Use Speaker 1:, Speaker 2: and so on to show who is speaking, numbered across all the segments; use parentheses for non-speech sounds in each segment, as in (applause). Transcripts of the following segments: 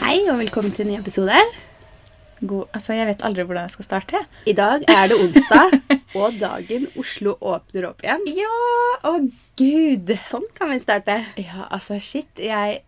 Speaker 1: Hei og velkommen til en ny episode.
Speaker 2: God, altså Jeg vet aldri hvordan jeg skal starte. jeg.
Speaker 1: I dag er det
Speaker 2: (laughs)
Speaker 1: onsdag, og dagen Oslo åpner opp igjen.
Speaker 2: Ja! Å, gud!
Speaker 1: Sånn kan vi starte.
Speaker 2: Ja, altså, shit. Jeg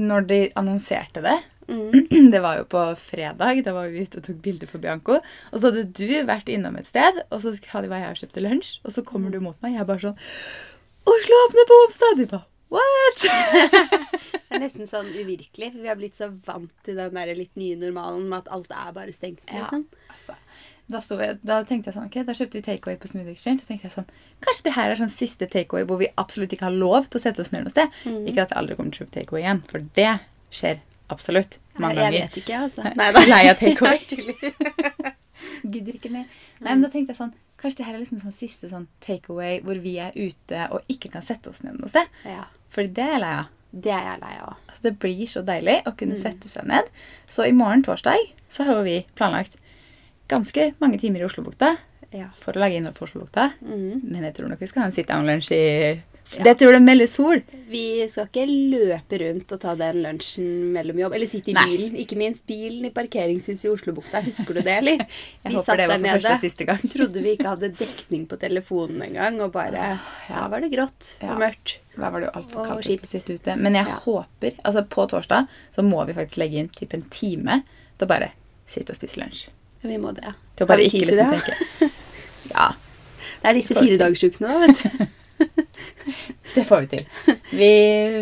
Speaker 2: Når de annonserte det (clears throat)
Speaker 1: Mm.
Speaker 2: Det var jo på fredag. Da var vi ute og tok bilder for Bianco. Og så hadde du vært innom et sted, og så sk- hadde var jeg og kjøpte lunsj. Og så kommer du mot meg, jeg er bare sånn Oslo åpner på onsdag! Du bare What?!
Speaker 1: Det er nesten sånn uvirkelig, for vi har blitt så vant til den der litt nye normalen med at alt er bare stengt.
Speaker 2: Ja.
Speaker 1: liksom.
Speaker 2: Altså, da, sto jeg, da tenkte jeg sånn, ok, da kjøpte vi takeaway på Smoothie Exchange. Så tenkte jeg sånn, Kanskje det her er sånn siste takeaway hvor vi absolutt ikke har lov til å sette oss ned noe sted.
Speaker 1: Mm.
Speaker 2: Ikke at jeg aldri kommer til å kjøpe takeaway igjen, for det skjer absolutt mange
Speaker 1: jeg
Speaker 2: ganger.
Speaker 1: vet ikke, altså.
Speaker 2: Nei,
Speaker 1: Neida.
Speaker 2: lei av takeaway.
Speaker 1: (laughs) Jeg tuller.
Speaker 2: (laughs) Gidder ikke mer. Nei,
Speaker 1: Mm.
Speaker 2: men da tenkte jeg sånn, Kanskje det her er liksom sånn siste sånn takeaway hvor vi er ute og ikke kan sette oss ned noe sted.
Speaker 1: ja,
Speaker 2: For det er jeg lei av.
Speaker 1: det er jeg lei av.
Speaker 2: Altså, det blir så deilig å kunne
Speaker 1: Mm.
Speaker 2: sette seg ned. Så i morgen, torsdag, så har jo vi planlagt ganske mange timer i Oslobukta
Speaker 1: Ja.
Speaker 2: for å lage innhold for Oslobukta.
Speaker 1: Mm.
Speaker 2: Men jeg tror nok vi skal ha en sit-down-lunsj i Jeg tror det melder sol.
Speaker 1: Vi skal ikke løpe rundt og ta den lunsjen mellom jobb. Eller sitte i
Speaker 2: Nei.
Speaker 1: bilen. Ikke minst bilen i parkeringshuset i Oslobukta. Husker du det,
Speaker 2: (laughs)
Speaker 1: eller?
Speaker 2: Jeg håper det var for første og siste gang.
Speaker 1: (laughs) trodde vi ikke hadde dekning på telefonen engang, og bare Ja, var det grått og
Speaker 2: Ah, Ja.
Speaker 1: mørkt.
Speaker 2: Da var det jo altfor
Speaker 1: Og
Speaker 2: kaldt
Speaker 1: kjipt.
Speaker 2: å sitte ute. Men jeg
Speaker 1: Ja.
Speaker 2: håper Altså, på torsdag så må vi faktisk legge inn typ en time til å bare sitte og spise lunsj.
Speaker 1: Vi må det.
Speaker 2: Til å
Speaker 1: Har
Speaker 2: bare
Speaker 1: vi
Speaker 2: ikke
Speaker 1: tid til
Speaker 2: liksom
Speaker 1: det?
Speaker 2: tenke Ja,
Speaker 1: Det er disse
Speaker 2: Får vi til.
Speaker 1: firedagersukene nå, vet du.
Speaker 2: det
Speaker 1: (laughs)
Speaker 2: får vi til. Vi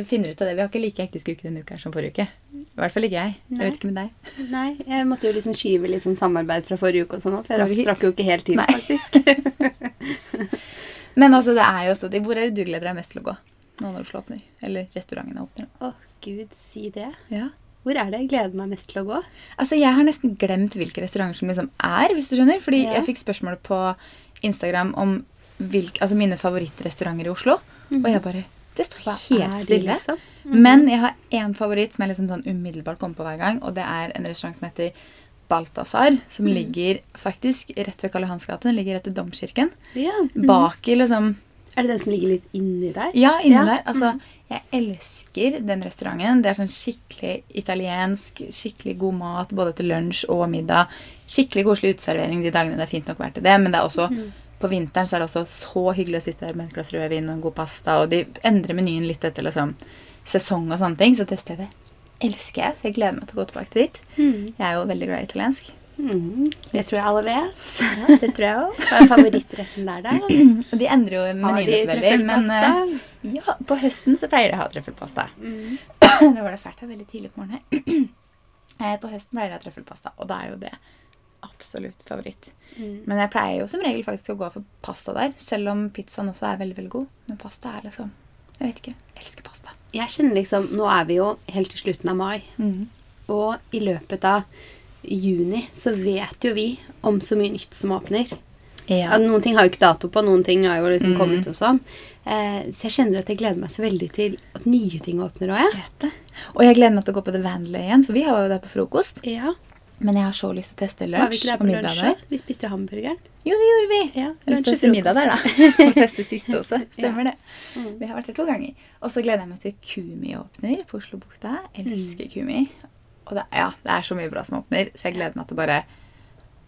Speaker 2: finner ut av det. Vi har ikke like hektisk uke denne uka her som forrige uke. I hvert fall ikke jeg. Jeg
Speaker 1: Nei.
Speaker 2: vet ikke med deg. (laughs)
Speaker 1: Nei, jeg måtte jo liksom skyve litt sånn samarbeid fra forrige uke og sånn, for jeg
Speaker 2: Var det
Speaker 1: rakk-
Speaker 2: hit?
Speaker 1: strakk jo ikke helt til,
Speaker 2: Nei.
Speaker 1: faktisk.
Speaker 2: (laughs) Men altså, det er jo også de, Hvor er det du gleder deg mest til å gå? Nå når Oslo åpner? Eller restaurantene åpner?
Speaker 1: Å, gud, si det.
Speaker 2: Ja.
Speaker 1: Hvor er det jeg gleder meg mest til å gå?
Speaker 2: Altså, Jeg har nesten glemt hvilke restauranter som liksom er. hvis du skjønner. Fordi
Speaker 1: Ja.
Speaker 2: jeg fikk spørsmål på Instagram om hvilke, altså mine favorittrestauranter i Oslo. Og
Speaker 1: Mhm.
Speaker 2: jeg bare Det står helt stille.
Speaker 1: liksom?
Speaker 2: Men jeg har én favoritt som jeg liksom sånn umiddelbart kommer på hver gang. Og det er en restaurant som heter Balthazar. Som
Speaker 1: Mhm.
Speaker 2: ligger faktisk rett ved Karl Johans gate. Den ligger rett ved Domkirken.
Speaker 1: Ja.
Speaker 2: Bak i liksom
Speaker 1: Er det den som ligger litt inni der?
Speaker 2: ja, inni
Speaker 1: Ja. mm.
Speaker 2: der. Altså, jeg elsker den restauranten. Det er sånn skikkelig italiensk, skikkelig god mat både til lunsj og middag. Skikkelig koselig uteservering de dagene det er fint nok vær til det. Men det er også,
Speaker 1: Mm.
Speaker 2: på vinteren så er det også så hyggelig å sitte der med et glass rødvin og en god pasta. Og de endrer menyen litt etter liksom, sesong og sånne ting. Så det stedet elsker jeg. Så jeg gleder meg til å gå tilbake dit.
Speaker 1: Mm.
Speaker 2: Jeg er jo veldig glad i italiensk.
Speaker 1: Mm. Det tror jeg alle vet.
Speaker 2: det tror jeg òg.
Speaker 1: Hva er favorittretten
Speaker 2: (clears throat)
Speaker 1: der, da?
Speaker 2: (laughs) Og de endrer jo
Speaker 1: Har de
Speaker 2: menyene så veldig. Men eh,
Speaker 1: trøffelpasta?
Speaker 2: ja, på høsten så pleier de å ha trøffelpasta.
Speaker 1: Mm.
Speaker 2: (clears throat) Det var det fælt her veldig tidlig på morgenen. her. (clears throat) Eh, På høsten pleier jeg trøffelpasta, og da er jo det absolutt favoritt.
Speaker 1: Mm.
Speaker 2: Men jeg pleier jo som regel faktisk å gå for pasta der, selv om pizzaen også er veldig veldig god. Men pasta er liksom Jeg vet ikke. Jeg elsker pasta.
Speaker 1: Jeg kjenner liksom, Nå er vi jo helt til slutten av mai, og i løpet av juni så vet jo vi om så mye nytt som åpner. Ja.
Speaker 2: Ja.
Speaker 1: Noen ting har jo ikke dato på, noen ting har jo liksom
Speaker 2: Mm.
Speaker 1: kommet og sånn. Eh, så jeg kjenner at jeg gleder meg så veldig til at nye ting åpner òg, jeg.
Speaker 2: jeg vet det. Og jeg gleder meg til å gå på The Vanley igjen, for vi har jo det på frokost.
Speaker 1: Ja.
Speaker 2: Men jeg har så lyst til å teste
Speaker 1: Var vi
Speaker 2: lunsj
Speaker 1: ikke der
Speaker 2: og
Speaker 1: på
Speaker 2: middag
Speaker 1: lunsj?
Speaker 2: der.
Speaker 1: Vi spiste jo hamburgeren.
Speaker 2: Jo, det gjorde vi.
Speaker 1: Ja,
Speaker 2: Jeg har lyst til å
Speaker 1: lunsj og
Speaker 2: spise middag der, da. (laughs) Og teste siste også. Stemmer det.
Speaker 1: Mm.
Speaker 2: Vi har vært der to ganger. Og så gleder jeg meg til Kumi åpner på Oslobukta. Elsker Kumi. Og det, ja, det er så mye bra som åpner, så jeg gleder meg til å bare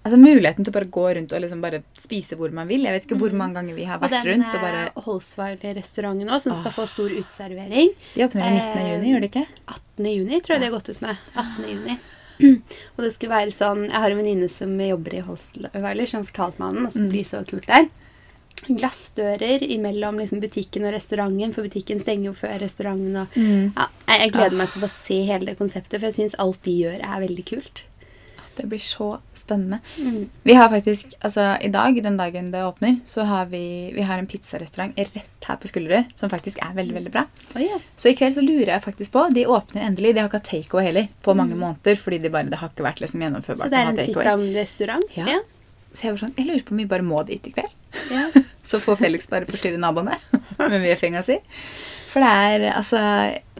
Speaker 2: Altså Muligheten til å bare gå rundt og liksom bare spise hvor man vil. Jeg vet ikke hvor mange ganger vi har
Speaker 1: Og
Speaker 2: vært
Speaker 1: den
Speaker 2: rundt. Mm. og eh, bare... Ah.
Speaker 1: Holsweiler-restauranten òg, som skal få stor uteservering.
Speaker 2: De åpner den 19.
Speaker 1: eh,
Speaker 2: juni, gjør de ikke?
Speaker 1: 18. juni, tror jeg de har gått ut med. 18. juni. (clears throat) Og det skulle være sånn, Jeg har en venninne som jobber i Holstweiler, som fortalte meg om den. og så
Speaker 2: Mm.
Speaker 1: blir så kult der. Glassdører imellom liksom, butikken og restauranten, for butikken stenger jo før restauranten. Og,
Speaker 2: Mm.
Speaker 1: ja, jeg jeg gleder meg til å bare se hele det konseptet, for jeg syns alt de gjør, er veldig kult.
Speaker 2: Det blir så spennende.
Speaker 1: Mm.
Speaker 2: Vi har faktisk, altså I dag, den dagen det åpner, så har vi, vi har en pizzarestaurant rett her på Skullerud som faktisk er veldig veldig bra.
Speaker 1: Oi, ja.
Speaker 2: Så i kveld så lurer jeg faktisk på. De åpner endelig. De har ikke hatt takeaway heller på mange måneder. fordi de bare, det har ikke vært liksom
Speaker 1: Mm. Så
Speaker 2: gjennomførbart.
Speaker 1: det
Speaker 2: å
Speaker 1: er
Speaker 2: ha
Speaker 1: en
Speaker 2: takeaway.
Speaker 1: sit-down-restaurant?
Speaker 2: Ja. (laughs) Så jeg var sånn, jeg lurer på om vi bare må dit i kveld. (laughs)
Speaker 1: ja.
Speaker 2: Så får Felix bare forstyrre naboene. (laughs) med mye fingers i. For det er altså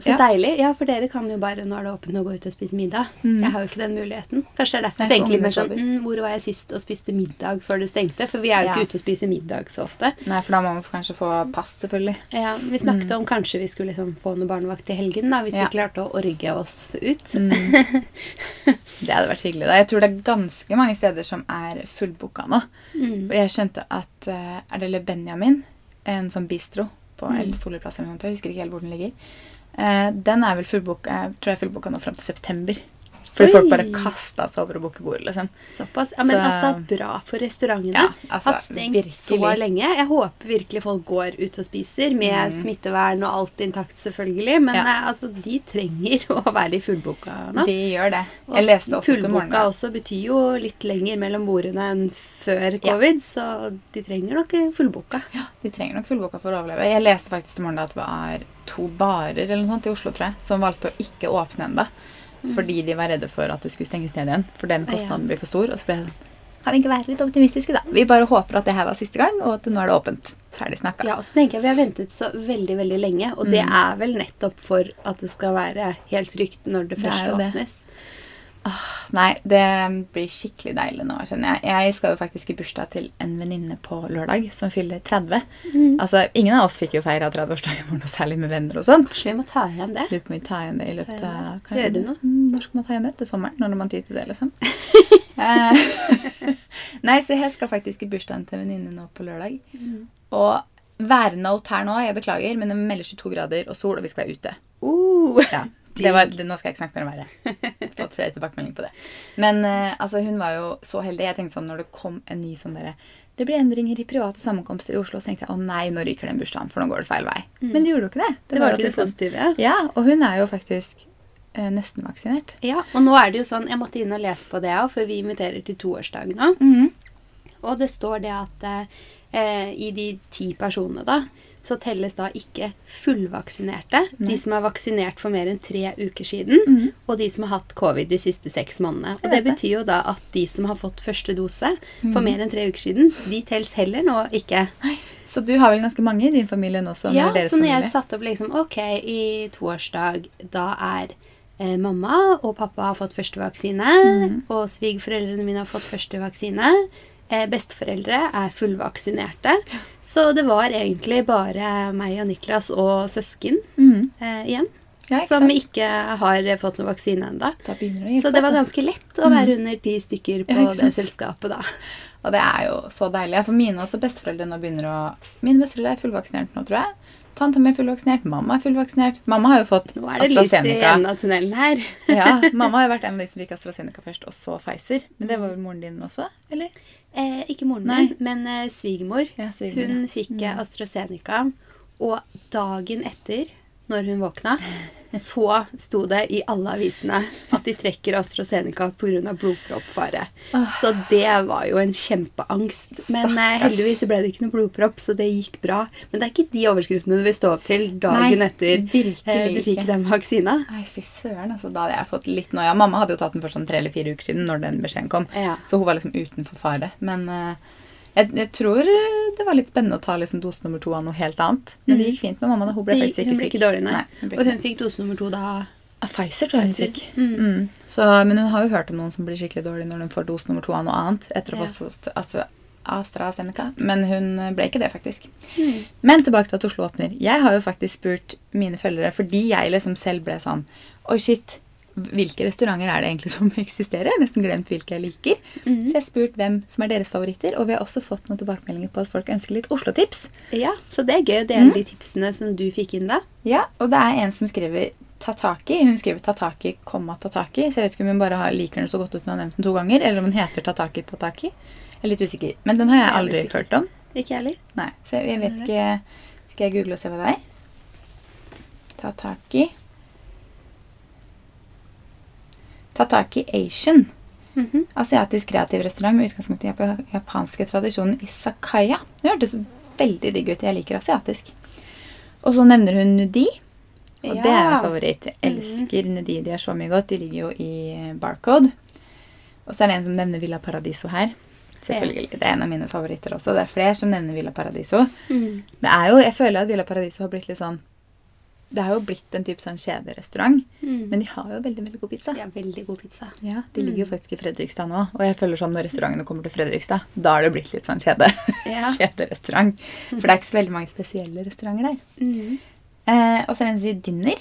Speaker 1: Så
Speaker 2: ja.
Speaker 1: deilig. Ja, for dere kan jo bare når det er åpent å gå ut og spise middag.
Speaker 2: Mm.
Speaker 1: Jeg har jo ikke den muligheten. Kanskje det er derfor
Speaker 2: Nei,
Speaker 1: jeg tenker litt mer
Speaker 2: for
Speaker 1: sånn mm, Hvor var jeg sist og spiste middag før det stengte? For vi er jo
Speaker 2: Ja.
Speaker 1: ikke ute og spiser middag så ofte.
Speaker 2: Nei, for da må man kanskje få pass, selvfølgelig.
Speaker 1: Ja, vi snakket om kanskje vi skulle liksom få noe barnevakt i helgen, da, hvis
Speaker 2: Mm. Ja.
Speaker 1: vi klarte å orge oss ut.
Speaker 2: Mm. (laughs) Det hadde vært hyggelig. da. Jeg tror det er ganske mange steder som er fullbooka nå.
Speaker 1: Mm.
Speaker 2: For jeg skjønte at eh, Er det Le Benjamin? En sånn bistro på
Speaker 1: Mm.
Speaker 2: El Soleplass eller noe sånt. Jeg husker ikke helt hvor den ligger. Eh, den er vel fullbooka jeg tror jeg er fullbooka nå fram til september. Fordi
Speaker 1: Oi.
Speaker 2: folk bare kasta seg over å booke bord, liksom.
Speaker 1: Såpass. Ja, men
Speaker 2: Så-
Speaker 1: altså, bra for restaurantene.
Speaker 2: Ja, altså,
Speaker 1: Hatt stengt så
Speaker 2: virkelig.
Speaker 1: lenge. Jeg håper virkelig folk går ut og spiser, med smittevern og alt intakt, selvfølgelig. Men
Speaker 2: Mm. Ja.
Speaker 1: eh, altså, de trenger (laughs) å være litt fullboka nå.
Speaker 2: De gjør det.
Speaker 1: Og
Speaker 2: Jeg leste også til
Speaker 1: fullboka
Speaker 2: morgenen.
Speaker 1: også betyr jo litt lenger mellom bordene enn før
Speaker 2: Ja.
Speaker 1: covid, så de trenger nok fullboka.
Speaker 2: De trenger nok fullboka for å overleve. Jeg leste faktisk til morgenen at det var to barer eller noe sånt i Oslo, tror jeg, som valgte å ikke åpne ennå. Fordi de var redde for at det skulle stenges ned igjen. For den
Speaker 1: Ja.
Speaker 2: kostnaden blir for stor. Og så ble jeg sånn Kan vi ikke være litt optimistiske, da? Vi bare håper at det her var siste gang, og at nå er det åpent. Ferdig snakka.
Speaker 1: Ja, og så tenker jeg Vi har ventet så veldig veldig lenge, og det
Speaker 2: Mm.
Speaker 1: er vel nettopp for at det skal være helt trygt når det
Speaker 2: Det er
Speaker 1: først
Speaker 2: jo det.
Speaker 1: åpnes.
Speaker 2: Nei, det blir skikkelig deilig nå, kjenner jeg. Jeg skal jo faktisk i bursdag til en venninne på lørdag som fyller 30. Altså, ingen av oss fikk jo feira 30-årsdagen vår noe særlig med venner og sånt.
Speaker 1: Så vi må ta igjen det.
Speaker 2: Lurer på om vi tar igjen det i løpet
Speaker 1: Ta igjen
Speaker 2: av
Speaker 1: det. Gjør du noe?
Speaker 2: Mm, Når skal man ta igjen det? Til sommeren? Når man tyr til
Speaker 1: (laughs)
Speaker 2: det, liksom? Eh, (laughs) Nei, så jeg skal faktisk i bursdagen til en venninne nå på lørdag.
Speaker 1: Mm.
Speaker 2: Og værnote her nå, jeg beklager, men det melder 22 grader og sol, og vi skal ute.
Speaker 1: Uh, (laughs)
Speaker 2: Ja, det var, det, nå skal jeg ikke snakke mer om været. Jeg har Fått flere tilbakemeldinger på det. Men eh, altså, hun var jo så heldig. Jeg tenkte sånn, Når det kom en ny sånn derre Det ble endringer i private sammenkomster i Oslo. Så tenkte jeg å nei, nå ryker den bursdagen, for nå går det feil vei. Men det gjorde jo ikke det.
Speaker 1: Mm. det var
Speaker 2: jo
Speaker 1: jo det
Speaker 2: liksom-
Speaker 1: positive.
Speaker 2: ja, og hun er jo faktisk eh, nesten vaksinert.
Speaker 1: Ja, og nå er det jo sånn, jeg måtte inn og lese på det òg, for vi inviterer til toårsdag nå.
Speaker 2: Mhm.
Speaker 1: Og det står det at eh, i de ti personene da, så telles da ikke fullvaksinerte. De som er vaksinert for mer enn tre uker siden, og de som har hatt covid de siste seks månedene. Og det
Speaker 2: Mhm. Jeg vet det. Mhm.
Speaker 1: betyr jo da at de som har fått første dose for mer enn tre uker siden, de telles heller nå ikke.
Speaker 2: Så du har vel ganske mange i din familie nå? Som
Speaker 1: ja,
Speaker 2: er deres
Speaker 1: så når
Speaker 2: familie.
Speaker 1: jeg satte opp liksom Ok, i toårsdag, da er eh, mamma og pappa har fått første vaksine,
Speaker 2: Mhm.
Speaker 1: og svigerforeldrene mine har fått første vaksine. Eh, besteforeldre er fullvaksinerte. Så det var egentlig bare meg og Niklas og søsken
Speaker 2: Mhm.
Speaker 1: eh, igjen
Speaker 2: Ja, ikke
Speaker 1: som
Speaker 2: sant?
Speaker 1: ikke har eh, fått noen vaksine ennå.
Speaker 2: Da begynner det å
Speaker 1: Så
Speaker 2: hjelpe,
Speaker 1: det var
Speaker 2: altså.
Speaker 1: ganske lett å være under ti stykker på
Speaker 2: Ja, ikke
Speaker 1: det
Speaker 2: sant?
Speaker 1: selskapet da.
Speaker 2: Og det er jo så deilig. Ja, For mine også besteforeldre nå begynner å Mine besteforeldre er fullvaksinert nå, tror jeg. Tante mi er fullvaksinert. Mamma er fullvaksinert. Mamma har jo fått
Speaker 1: Nå er det lys i enden av tunnelen her.
Speaker 2: ja, mamma har jo vært en av de som fikk AstraZeneca først, og så Pfizer. Men det var vel moren din også? Eller?
Speaker 1: Eh, ikke moren
Speaker 2: Nei.
Speaker 1: min, men eh, svigermor.
Speaker 2: Ja, Mm. svigermor,
Speaker 1: Hun fikk eh, AstraZeneca, og dagen etter, når hun
Speaker 2: (laughs)
Speaker 1: våkna, så sto det i alle avisene at de trekker AstraZeneca pga. blodproppfare. Så det var jo en kjempeangst. Men eh,
Speaker 2: Ah. Stakkars.
Speaker 1: heldigvis ble det ikke noe blodpropp, så det gikk bra. Men det er ikke de overskriftene du vil stå opp til dagen
Speaker 2: Nei,
Speaker 1: etter
Speaker 2: virkelig
Speaker 1: eh, du fikk
Speaker 2: ikke.
Speaker 1: den vaksina.
Speaker 2: Nei, fy søren, altså. Da hadde jeg fått litt noia. Mamma hadde jo tatt den for sånn tre eller fire uker siden når den beskjeden kom.
Speaker 1: Ja.
Speaker 2: Så hun var liksom utenfor fare. Men eh, jeg, jeg tror eh, det var litt spennende å ta liksom dose nummer to av noe helt annet. Men det gikk fint med mamma. da. Hun ble
Speaker 1: Mm. Hun
Speaker 2: faktisk ikke
Speaker 1: ble
Speaker 2: syk.
Speaker 1: ikke dårlig, nei.
Speaker 2: hun ble
Speaker 1: Og
Speaker 2: ikke
Speaker 1: hun fikk dose nummer to da.
Speaker 2: Av Pfizer tror jeg hun
Speaker 1: Pfizer.
Speaker 2: fikk. Mm. Så, men hun har jo hørt om noen som blir skikkelig dårlig når de får dose nummer to av noe annet. etter å
Speaker 1: Ja.
Speaker 2: få fått Astra- AstraZeneca. Men hun ble ikke det, faktisk.
Speaker 1: Mm.
Speaker 2: Men tilbake til at Oslo åpner. Jeg har jo faktisk spurt mine følgere, fordi jeg liksom selv ble sånn Oi, shit. Hvilke restauranter er det egentlig som (laughs) eksisterer? Jeg har nesten glemt hvilke jeg liker.
Speaker 1: Mm.
Speaker 2: Så jeg har spurt hvem som er deres favoritter, og vi har også fått noen tilbakemeldinger på at folk ønsker litt Oslo-tips.
Speaker 1: Ja, Så det er gøy å dele
Speaker 2: Mm.
Speaker 1: de tipsene som du fikk inn da.
Speaker 2: Ja, og det er en som skriver Tataki. Hun skriver Tataki, komma Tataki. Så jeg vet ikke om hun bare har, liker den så godt uten å ha nevnt den to ganger, eller om den heter Tataki Tataki. Jeg er litt usikker. Men den har jeg
Speaker 1: Jeg er
Speaker 2: aldri
Speaker 1: usikker.
Speaker 2: hørt om.
Speaker 1: Ikke jeg heller.
Speaker 2: Nei, så jeg, jeg vet ikke Skal jeg google og se hva det er? Tataki Tataki Asian.
Speaker 1: Mhm.
Speaker 2: Asiatisk kreativ restaurant med utgangspunkt i jap- japanske tradisjonen isakaya. Det hørtes veldig digg ut. Jeg liker asiatisk. Og så nevner hun nudi. Og det er
Speaker 1: Ja. Mm.
Speaker 2: min favoritt. Jeg elsker nudi. De er eh, så mye godt. De ligger jo i barcode. Og så er det en som nevner Villa Paradiso her. Selvfølgelig. Det er en av mine favoritter også. Det er flere som nevner Villa Paradiso.
Speaker 1: Mm.
Speaker 2: Det er jo, Jeg føler at Villa Paradiso har blitt litt sånn Det har jo blitt en type sånn kjederestaurant,
Speaker 1: Mm.
Speaker 2: men de har jo veldig veldig god pizza.
Speaker 1: De har veldig god pizza.
Speaker 2: Ja, De ligger jo
Speaker 1: Mm.
Speaker 2: faktisk i Fredrikstad nå, og jeg føler sånn når restaurantene kommer til Fredrikstad, da har det blitt litt sånn kjede. (laughs)
Speaker 1: Ja.
Speaker 2: kjederestaurant. For det er ikke så veldig mange spesielle restauranter der.
Speaker 1: Mm.
Speaker 2: Eh, og så er det en som sier dinner.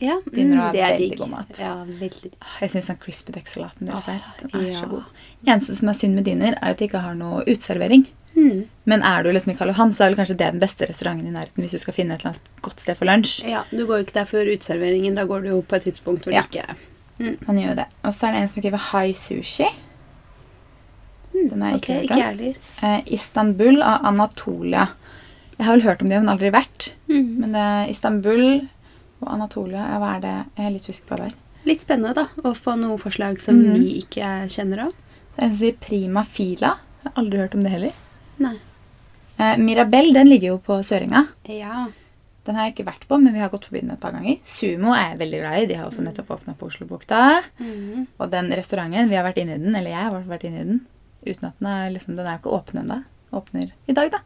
Speaker 1: Ja, Mm,
Speaker 2: Begynner å ha
Speaker 1: det er
Speaker 2: veldig
Speaker 1: digg.
Speaker 2: god mat.
Speaker 1: Ja, veldig digg.
Speaker 2: Jeg syns sånn crispy duck-salaten deres
Speaker 1: Åh,
Speaker 2: der, den er
Speaker 1: Ah, ja.
Speaker 2: så god. Eneste som er synd med dinner, er at de ikke har noe uteservering.
Speaker 1: Mm.
Speaker 2: Men er du liksom i Karl Johan, så er vel kanskje det den beste restauranten i nærheten hvis du skal finne et eller annet godt sted for lunsj.
Speaker 1: Ja, du går jo ikke der før uteserveringen. Da går du jo på et tidspunkt hvor det
Speaker 2: Ja.
Speaker 1: ikke er
Speaker 2: Man gjør jo det. Og så er det en som skriver High Sushi.
Speaker 1: Mm,
Speaker 2: Den har jeg
Speaker 1: Ok,
Speaker 2: ikke hørt
Speaker 1: ikke
Speaker 2: om.
Speaker 1: jeg heller.
Speaker 2: Eh, Istanbul av Anatolia. Jeg har vel hørt om det, men aldri vært.
Speaker 1: Mm.
Speaker 2: Men det er Istanbul og Anatolia, ja, hva er det? Jeg er litt usikker på hva det er.
Speaker 1: Litt spennende, da. Å få noen forslag som
Speaker 2: Mhm.
Speaker 1: vi ikke kjenner av.
Speaker 2: Det er en som sier Prima Fila. Jeg har aldri hørt om det heller.
Speaker 1: Nei.
Speaker 2: Eh, Mirabel, den ligger jo på Søringa.
Speaker 1: Ja.
Speaker 2: Den har jeg ikke vært på, men vi har gått forbi den et par ganger. Sumo er jeg veldig glad i. De har også nettopp åpna på Oslobukta.
Speaker 1: Mhm.
Speaker 2: Og den restauranten, vi har vært inne i den, eller jeg har vært inne i den, uten at den er liksom, den er jo ikke åpen ennå. Åpner i dag, da.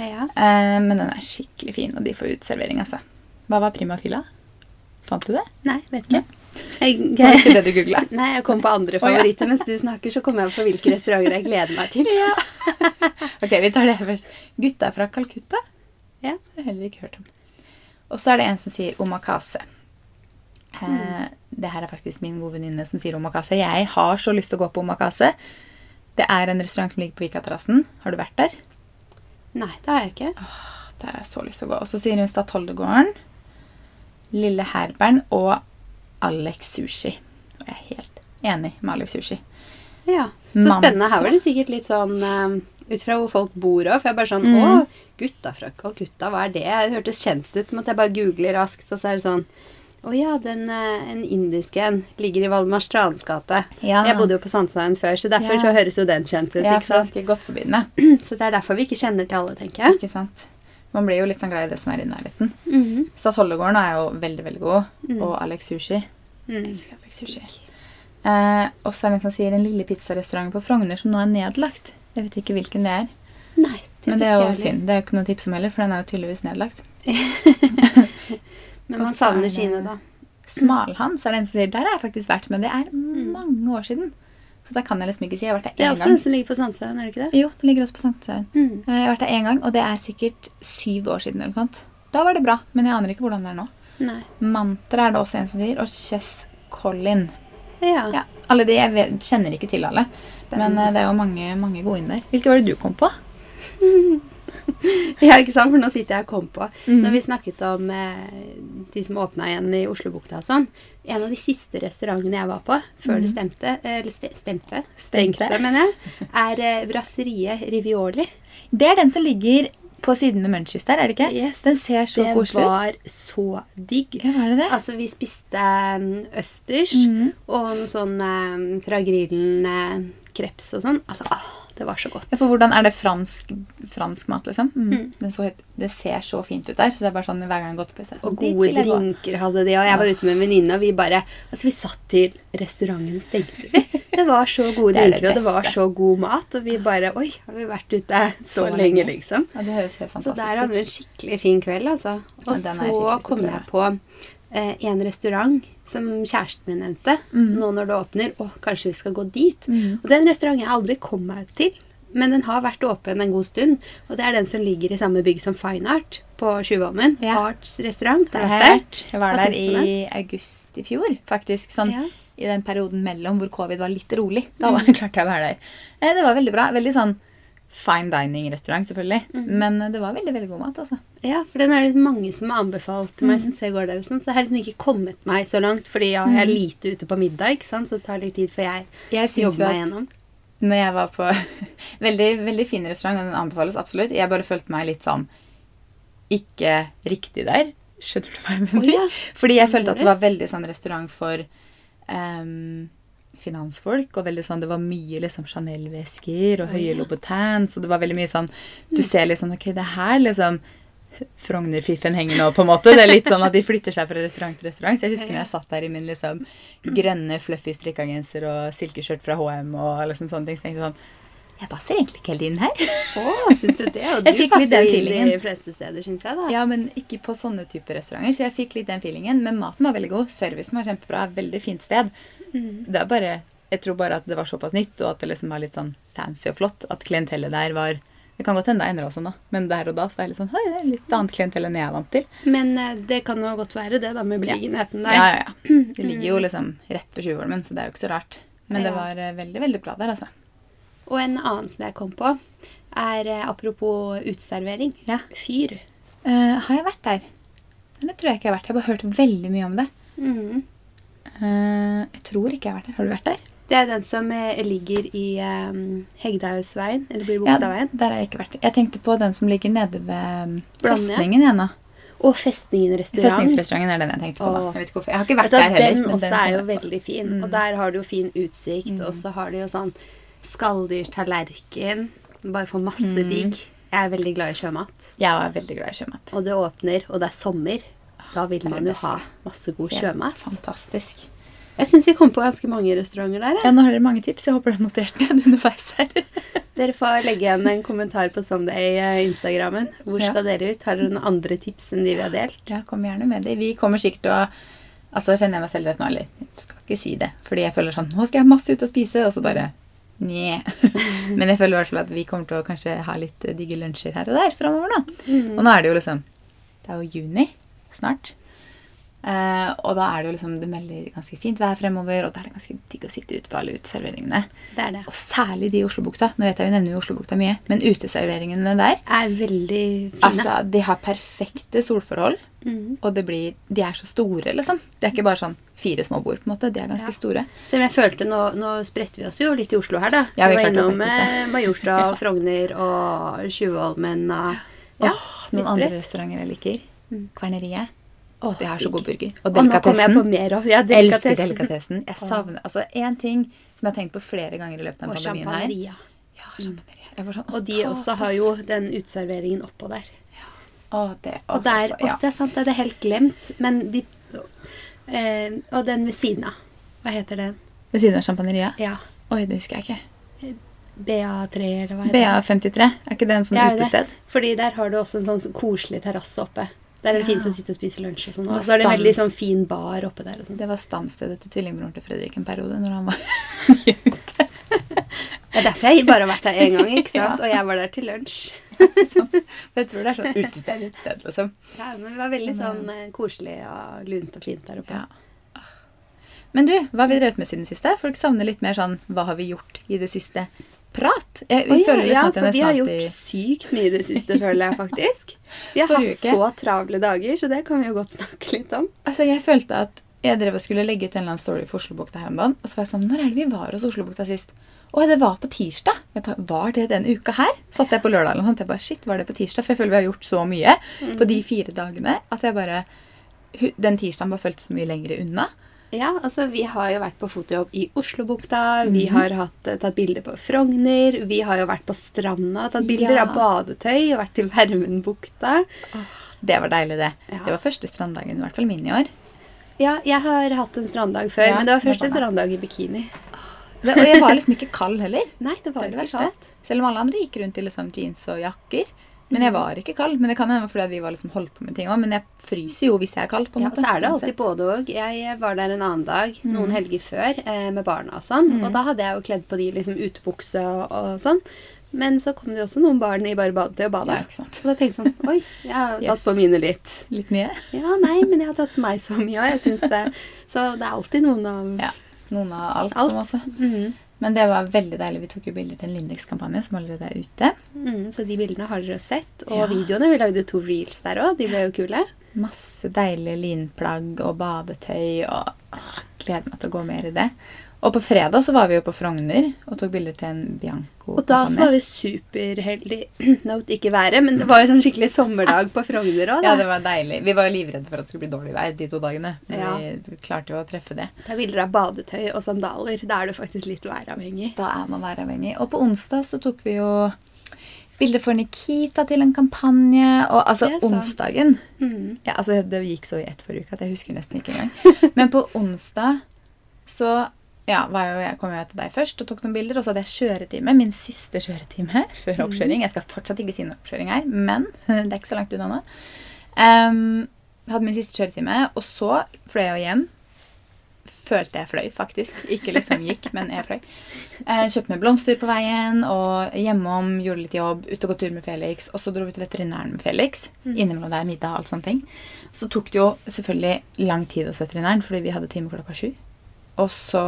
Speaker 1: Ja.
Speaker 2: Eh, men den er skikkelig fin, og de får uteservering, altså. Hva var prima fila? Fant du det?
Speaker 1: Nei, vet ikke. Jeg,
Speaker 2: Var det ikke det du googla?
Speaker 1: (laughs) Nei, jeg kom på andre
Speaker 2: Å, ja.
Speaker 1: favoritter. Mens du snakker, så kommer jeg på hvilke restauranter jeg gleder meg til.
Speaker 2: Ja. (laughs) ok, vi tar det først. Gutta fra Calcutta?
Speaker 1: Ja.
Speaker 2: Jeg har heller ikke hørt om. Og så er det en som sier omakase. Eh, det her er faktisk min gode venninne som sier omakase. Jeg har så lyst til å gå på omakase. Det er en restaurant som ligger på Vikaterrassen. Har du vært der?
Speaker 1: Nei, det har jeg ikke.
Speaker 2: Der har jeg så lyst til å gå. Og så sier hun Statoldegården, Lille Herbern og Alex Sushi. Og jeg er helt enig med Alex Sushi.
Speaker 1: Ja, Så
Speaker 2: Mann.
Speaker 1: spennende. Her var det sikkert litt sånn eh, ut fra hvor folk bor òg. For jeg er bare sånn Å,
Speaker 2: Mm.
Speaker 1: gutta fra Calcutta, hva er det? Det hørtes kjent ut. Som at jeg bare googler raskt, og så er det sånn Å ja, den eh, en indisk en ligger i Valdemar Strands gate.
Speaker 2: Ja.
Speaker 1: Jeg bodde jo på Sandstein før, så derfor
Speaker 2: Ja.
Speaker 1: så høres jo den kjent ut.
Speaker 2: Ja,
Speaker 1: ikke
Speaker 2: for
Speaker 1: sant?
Speaker 2: ganske godt forbi den, ja.
Speaker 1: (clears throat) Så det er derfor vi ikke kjenner til alle, tenker jeg.
Speaker 2: Ikke sant? Man blir jo litt sånn glad i det som er i nærheten.
Speaker 1: Mhm.
Speaker 2: Statoldegården er jo veldig, veldig god.
Speaker 1: Mm.
Speaker 2: Og Alex Sushi. Jeg
Speaker 1: Mm.
Speaker 2: elsker Alex Sushi. Eh, og så er det en som sier den lille pizzarestauranten på Frogner som nå er nedlagt. Jeg vet ikke hvilken det er.
Speaker 1: Nei, det
Speaker 2: Men det
Speaker 1: vet
Speaker 2: er jo
Speaker 1: jeg heller.
Speaker 2: synd. Det er jo ikke noe tips om heller, for den er jo tydeligvis nedlagt.
Speaker 1: Men man
Speaker 2: Og så er
Speaker 1: savner
Speaker 2: det-
Speaker 1: sine, da.
Speaker 2: Smalhans er det en som sier der har jeg faktisk vært, men det er mange år siden. Så der kan jeg liksom ikke si. Jeg har vært
Speaker 1: Mm. Det
Speaker 2: der
Speaker 1: er
Speaker 2: én
Speaker 1: også den
Speaker 2: gang.
Speaker 1: som ligger på Sandstein, er det ikke det?
Speaker 2: Jo, den ligger også på Sankthanshaugen.
Speaker 1: Mm.
Speaker 2: Eh, Jeg har vært der én gang, og det er sikkert syv år siden eller noe sånt. Da var det bra, men jeg aner ikke hvordan det er nå.
Speaker 1: Nei.
Speaker 2: Mantra er det også en som sier, og Chess Collin.
Speaker 1: Ja,
Speaker 2: Ja, alle de, Jeg vet, kjenner ikke til alle, men
Speaker 1: spennende.
Speaker 2: eh, det er jo mange, mange gode inn der. Hvilke var det du kom på?
Speaker 1: Ja, ikke sant? For nå sitter jeg og kom på.
Speaker 2: Mhm.
Speaker 1: Når vi snakket om eh, de som åpna igjen i Oslobukta og sånn En av de siste restaurantene jeg var på før det stemte Eller ste stemte?
Speaker 2: Mm. Stengte.
Speaker 1: Stengte, mener jeg. Er eh, brasseriet Rivioli.
Speaker 2: Det er den som ligger på siden med Munchies der, er det ikke?
Speaker 1: Yes.
Speaker 2: Den ser så
Speaker 1: det
Speaker 2: koselig ut.
Speaker 1: var så digg.
Speaker 2: Ja, var det det?
Speaker 1: Altså, vi spiste mm, østers
Speaker 2: Mhm.
Speaker 1: og noe sånn eh, fra grillen eh, kreps og sånn. Altså, ah, det var så godt.
Speaker 2: Ja, for hvordan Er det fransk, fransk mat, liksom? Mm.
Speaker 1: Mm.
Speaker 2: Den så, helt- det ser så fint ut der. så det er bare sånn hver gang jeg har gått på seg.
Speaker 1: Og gode drinker hadde de, og jeg var ute med en venninne, og vi bare Altså, vi satt til restauranten stengte, vi. Det var så gode
Speaker 2: (laughs) Det er det
Speaker 1: drinker, og det var
Speaker 2: beste.
Speaker 1: så god mat, og vi bare Oi, har vi vært ute så,
Speaker 2: Så lenge.
Speaker 1: lenge, liksom?
Speaker 2: Ja, Altså, Det høres helt
Speaker 1: Så
Speaker 2: fantastisk
Speaker 1: der hadde vi en
Speaker 2: ut.
Speaker 1: skikkelig fin kveld, altså.
Speaker 2: Ja,
Speaker 1: Og
Speaker 2: den er
Speaker 1: så
Speaker 2: skikkelig
Speaker 1: kom
Speaker 2: stor,
Speaker 1: jeg på eh, en restaurant som kjæresten min nevnte,
Speaker 2: Mhm.
Speaker 1: nå når det åpner. Å, kanskje vi skal gå dit?
Speaker 2: Mhm.
Speaker 1: Og det er en restaurant jeg aldri kom meg til, men den har vært åpen en god stund. Og det er den som ligger i samme bygg som Fine Art på Tjuvholmen.
Speaker 2: Ja.
Speaker 1: Arts restaurant.
Speaker 2: Der
Speaker 1: der
Speaker 2: har
Speaker 1: oppe.
Speaker 2: jeg vært. Jeg var
Speaker 1: Hva
Speaker 2: der
Speaker 1: syns du om
Speaker 2: i august i fjor, faktisk. Sånn
Speaker 1: Ja. Mm.
Speaker 2: i den perioden mellom hvor covid var litt rolig. Da var, (laughs) klarte jeg å være der. Eh, Det var veldig bra. Veldig sånn fine dining-restaurant, selvfølgelig.
Speaker 1: Mm.
Speaker 2: Men eh, det var veldig, veldig god mat, altså.
Speaker 1: Ja, for den er det mange som har anbefalt til
Speaker 2: Mm.
Speaker 1: meg, syns jeg går der og sånn. Så jeg har liksom ikke kommet meg så langt, fordi ja, jeg er lite ute på middag, ikke sant, så det tar litt tid før jeg
Speaker 2: Jeg Mm. syns
Speaker 1: jobber
Speaker 2: jo
Speaker 1: meg
Speaker 2: at
Speaker 1: gjennom.
Speaker 2: (laughs) når jeg var på (laughs) veldig, veldig fin restaurant, og den anbefales absolutt, jeg bare følte meg litt sånn ikke riktig der. Skjønner du hva jeg mener?
Speaker 1: Å, ja.
Speaker 2: Fordi jeg
Speaker 1: Hva mener
Speaker 2: følte at det var veldig sånn restaurant for ehm, finansfolk, og veldig sånn, det var mye liksom Chanel-vesker og
Speaker 1: Å, ja.
Speaker 2: høye Louboutins, og det var veldig mye sånn, du ser litt sånn, ok, det her liksom, Frogner-fiffen henger nå på en måte. Det er litt sånn at de flytter seg fra restaurant til restaurant. Så jeg husker når jeg satt der i min liksom grønne, fluffy strikkagenser og silkeskjørt fra H&M og liksom sånne ting, så tenkte jeg sånn, Jeg passer egentlig ikke helt inn her.
Speaker 1: Å, syns du det? Og du
Speaker 2: Jeg fikk litt
Speaker 1: passer
Speaker 2: den
Speaker 1: jo inn
Speaker 2: feelingen.
Speaker 1: de fleste steder, syns jeg, da.
Speaker 2: Ja, men ikke på sånne typer restauranter. Så jeg fikk litt den feelingen. Men maten var veldig god. Servicen var kjempebra. Veldig fint sted. Det er bare, Jeg tror bare at det var såpass nytt, og at det liksom var litt sånn fancy og flott. At klientellet der var Det kan godt hende det endra seg nå, men der og da så var jeg litt sånn Oi, det er litt annet klientell enn jeg er vant til.
Speaker 1: Men eh, det kan jo godt være det, da, med beliggenheten der.
Speaker 2: Ja, ja, ja. Det ligger jo liksom rett på Tjuvholmen, så det er jo ikke så rart. Men det
Speaker 1: Ja.
Speaker 2: var eh, veldig, veldig bra der, altså.
Speaker 1: Og en annen som jeg kom på, er eh, apropos uteservering.
Speaker 2: Ja.
Speaker 1: Fyr.
Speaker 2: Eh, har jeg vært der? Nei, det tror jeg ikke jeg har vært. Jeg har bare hørt veldig mye om det.
Speaker 1: Mhm.
Speaker 2: Eh, jeg tror ikke jeg har vært der. Har du vært der?
Speaker 1: Det er den som eh, ligger i eh, Hegdehaugsveien, eller blir
Speaker 2: der
Speaker 1: Bogstadveien.
Speaker 2: har jeg ikke vært. Jeg tenkte på den som ligger nede ved
Speaker 1: Blandet.
Speaker 2: festningen igjen nå.
Speaker 1: Og Festningen restaurant.
Speaker 2: Festningsrestauranten er den jeg tenkte på da.
Speaker 1: Åh.
Speaker 2: Jeg vet ikke hvorfor. Jeg har ikke
Speaker 1: Vet
Speaker 2: vært
Speaker 1: du hva,
Speaker 2: der heller. Mm.
Speaker 1: den
Speaker 2: men
Speaker 1: også er jo
Speaker 2: jeg vært på.
Speaker 1: veldig fin. Og der har du jo fin utsikt, og så har du jo sånn skalldyrtallerken. Bare får masse
Speaker 2: Mm.
Speaker 1: digg. Jeg er veldig glad i sjømat.
Speaker 2: Jeg er veldig glad i sjømat.
Speaker 1: Og det åpner, og det er sommer. Da vil
Speaker 2: Ah, det er
Speaker 1: man
Speaker 2: det
Speaker 1: jo ha masse god sjømat.
Speaker 2: Fantastisk.
Speaker 1: Jeg syns vi kom på ganske mange restauranter der.
Speaker 2: Ja,
Speaker 1: jeg.
Speaker 2: nå har dere mange tips. Jeg håper dere har notert ned (laughs) underveis her.
Speaker 1: Dere får legge igjen en kommentar på Sunday-instagrammen. Hvor
Speaker 2: Ja.
Speaker 1: skal dere ut? Har dere noen andre tips enn de vi har delt?
Speaker 2: Ja, kom gjerne med det. Vi kommer sikkert til å Altså, kjenner jeg meg selv rett nå, eller? Jeg skal ikke si det. Fordi jeg føler sånn Nå skal jeg masse ut og spise, og så bare Nje. (laughs) Men jeg føler i hvert fall at vi kommer til å kanskje ha litt eh, digge lunsjer her og der framover nå. Og nå er det jo liksom Det er jo juni snart. Eh, og da er det jo liksom Det melder ganske fint vær fremover, og da er det ganske digg å sitte ute på alle uteserveringene.
Speaker 1: Det er det.
Speaker 2: Og særlig de i Oslobukta. Nå vet jeg vi nevner jo Oslobukta mye, men uteserveringene der
Speaker 1: Er veldig fine.
Speaker 2: Altså, de har perfekte solforhold.
Speaker 1: Mhm.
Speaker 2: Og det blir, de er så store, liksom. Det er ikke bare sånn fire små bord, på en måte. De er ganske
Speaker 1: Ja.
Speaker 2: store.
Speaker 1: Selv om jeg følte nå, nå spredte vi oss jo litt i Oslo her, da.
Speaker 2: Ja, vi
Speaker 1: vi var
Speaker 2: klarte
Speaker 1: innom
Speaker 2: faktisk det.
Speaker 1: eh, Majorstua og Frogner og Tjuvholmen og ja,
Speaker 2: Åh, noen
Speaker 1: litt
Speaker 2: andre
Speaker 1: spredt.
Speaker 2: restauranter jeg liker. Kverneriet. Åh, de har så
Speaker 1: digg.
Speaker 2: god burger. Og
Speaker 1: Og nå kommer jeg på
Speaker 2: delikatessen.
Speaker 1: mer òg. Ja,
Speaker 2: Jeg elsker
Speaker 1: delikatessen.
Speaker 2: delikatessen. Jeg savner Altså, én ting som jeg har tenkt på flere ganger i løpet av
Speaker 1: Og
Speaker 2: pandemien her
Speaker 1: champagneria.
Speaker 2: Ja, champagneria. Jeg var sånn,
Speaker 1: Og de også har jo den uteserveringen oppå der.
Speaker 2: Åh, det, åh,
Speaker 1: Og der,
Speaker 2: altså, ja.
Speaker 1: og det er sant, det er helt glemt, men de eh, Og den ved siden av. Hva heter den?
Speaker 2: Ved siden av champagneriet?
Speaker 1: Ja.
Speaker 2: Oi, det husker jeg ikke.
Speaker 1: BA3, eller hva heter den?
Speaker 2: BA53. Er ikke det en sånn
Speaker 1: Ja, det er det.
Speaker 2: utested?
Speaker 1: Fordi der har du også en sånn koselig terrasse oppe. Der er det fint å sitte og spise lunsj og sånn.
Speaker 2: Og
Speaker 1: Og så er det en
Speaker 2: stand.
Speaker 1: veldig sånn fin bar oppe der. og sånn.
Speaker 2: Det var stamstedet til tvillingbroren til Fredrik en periode når han var
Speaker 1: Det er derfor jeg bare har vært der én gang, (laughs) ikke sant? og jeg var der til lunsj.
Speaker 2: Jeg tror det er
Speaker 1: (laughs)
Speaker 2: sånn utested, utested, liksom.
Speaker 1: Ja, men Vi var veldig sånn eh, koselig og lunt og fint der oppe.
Speaker 2: Ja. Men du, hva har vi drevet med siden siste? Folk savner litt mer sånn hva har vi gjort i det siste? Prat! Jeg,
Speaker 1: Å,
Speaker 2: vi
Speaker 1: ja,
Speaker 2: føler liksom
Speaker 1: ja,
Speaker 2: at jeg
Speaker 1: for vi
Speaker 2: nesten
Speaker 1: har
Speaker 2: alltid
Speaker 1: gjort sykt mye i det siste, føler jeg faktisk. Vi har
Speaker 2: Forrige
Speaker 1: hatt
Speaker 2: uke.
Speaker 1: så travle dager, så det kan vi jo godt snakke litt om.
Speaker 2: Altså, jeg følte at jeg drev og skulle legge ut en eller annen story for Oslobukta her om dagen. Og så var jeg sånn Når er det vi var hos Oslobukta sist? Å, det var på tirsdag. Jeg bare, Var det den uka her? Satt jeg på lørdag eller noe sånt. Jeg bare Shit, var det på tirsdag? For jeg føler vi har gjort så mye
Speaker 1: Mm.
Speaker 2: på de fire dagene at jeg bare hu- Den tirsdagen bare føltes så mye lenger unna.
Speaker 1: Ja, altså Vi har jo vært på fotojobb i Oslobukta, vi har hatt, eh, tatt bilder på Frogner, vi har jo vært på stranda og tatt bilder
Speaker 2: Ja.
Speaker 1: av badetøy og vært i Vermenbukta.
Speaker 2: Det var deilig, det.
Speaker 1: Ja.
Speaker 2: Det var første stranddagen, i hvert fall min i år.
Speaker 1: Ja, jeg har hatt en stranddag før,
Speaker 2: Ja,
Speaker 1: men det var
Speaker 2: det
Speaker 1: første
Speaker 2: var det.
Speaker 1: stranddag i bikini.
Speaker 2: Det, og
Speaker 1: (laughs)
Speaker 2: jeg var liksom ikke kald heller.
Speaker 1: Nei, det
Speaker 2: Det
Speaker 1: var
Speaker 2: er det
Speaker 1: ikke
Speaker 2: verste.
Speaker 1: kaldt.
Speaker 2: Selv om alle andre gikk rundt i liksom jeans og jakker. Men jeg var ikke kald. Men det kan hende fordi at vi var liksom holdt på med ting òg. Men jeg fryser jo hvis jeg er kald. på en
Speaker 1: Ja,
Speaker 2: måte.
Speaker 1: så er det alltid
Speaker 2: Uansett. Mm.
Speaker 1: både og. Jeg var der en annen dag, noen helger før, eh, med barna og sånn. Og da hadde jeg jo kledd på de liksom utebukse og, og sånn. Men så kom det jo også noen barn i bare badetøy og bada.
Speaker 2: Ja, ikke sant.
Speaker 1: og da tenkte jeg sånn Oi, jeg har tatt
Speaker 2: Yes.
Speaker 1: på mine litt.
Speaker 2: Litt mye.
Speaker 1: Ja, nei, men jeg har tatt på meg så mye òg. Jeg syns det. Så det er alltid noen av
Speaker 2: Ja. Noen av alt, på en
Speaker 1: Mm. alt.
Speaker 2: måte.
Speaker 1: Mhm.
Speaker 2: Men det var veldig deilig. Vi tok jo bilder til en Lindex-kampanje som allerede er ute.
Speaker 1: Mhm, så de bildene har dere sett. Og
Speaker 2: Ja.
Speaker 1: videoene. Vi lagde jo to reels der òg. De ble jo kule.
Speaker 2: Masse deilige linplagg og badetøy og åh, gleder meg til å gå mer i det. Og på fredag så var vi jo på Frogner og tok bilder til en Bianco-kampanje.
Speaker 1: Og da så var vi superheldige. (clears throat) Not ikke været, men det var jo sånn skikkelig sommerdag på Frogner òg.
Speaker 2: Ja, det var deilig. Vi var jo livredde for at det skulle bli dårlig vær de to dagene. Men
Speaker 1: Ja.
Speaker 2: vi klarte jo å treffe det.
Speaker 1: Ta bilder av badetøy og sandaler. Da er du faktisk litt væravhengig.
Speaker 2: Da er man væravhengig. Og på onsdag så tok vi jo bilder for Nikita til en kampanje. Og altså
Speaker 1: Det er sant.
Speaker 2: onsdagen
Speaker 1: Mhm.
Speaker 2: ja, altså, Det gikk så i ett forrige uke at jeg husker nesten ikke engang. Men på onsdag så ja, var jo, jeg kom jo til deg først og tok noen bilder. Og så hadde jeg kjøretime. Min siste kjøretime (laughs) før oppkjøring. Jeg skal fortsatt ikke si noe oppkjøring her, men (laughs) det er ikke så langt unna nå. Ehm, hadde min siste kjøretime, og så fløy jeg jo hjem. Følte jeg fløy, faktisk. Ikke liksom gikk, men jeg fløy. Eh, kjøpte meg blomster på veien, og hjemom gjorde litt jobb. Ute og gå tur med Felix. Og så dro vi til veterinæren med Felix. Innimellom der middag og alt sånne ting. Så tok det jo selvfølgelig lang tid hos veterinæren, fordi vi hadde time klokka sju. Og så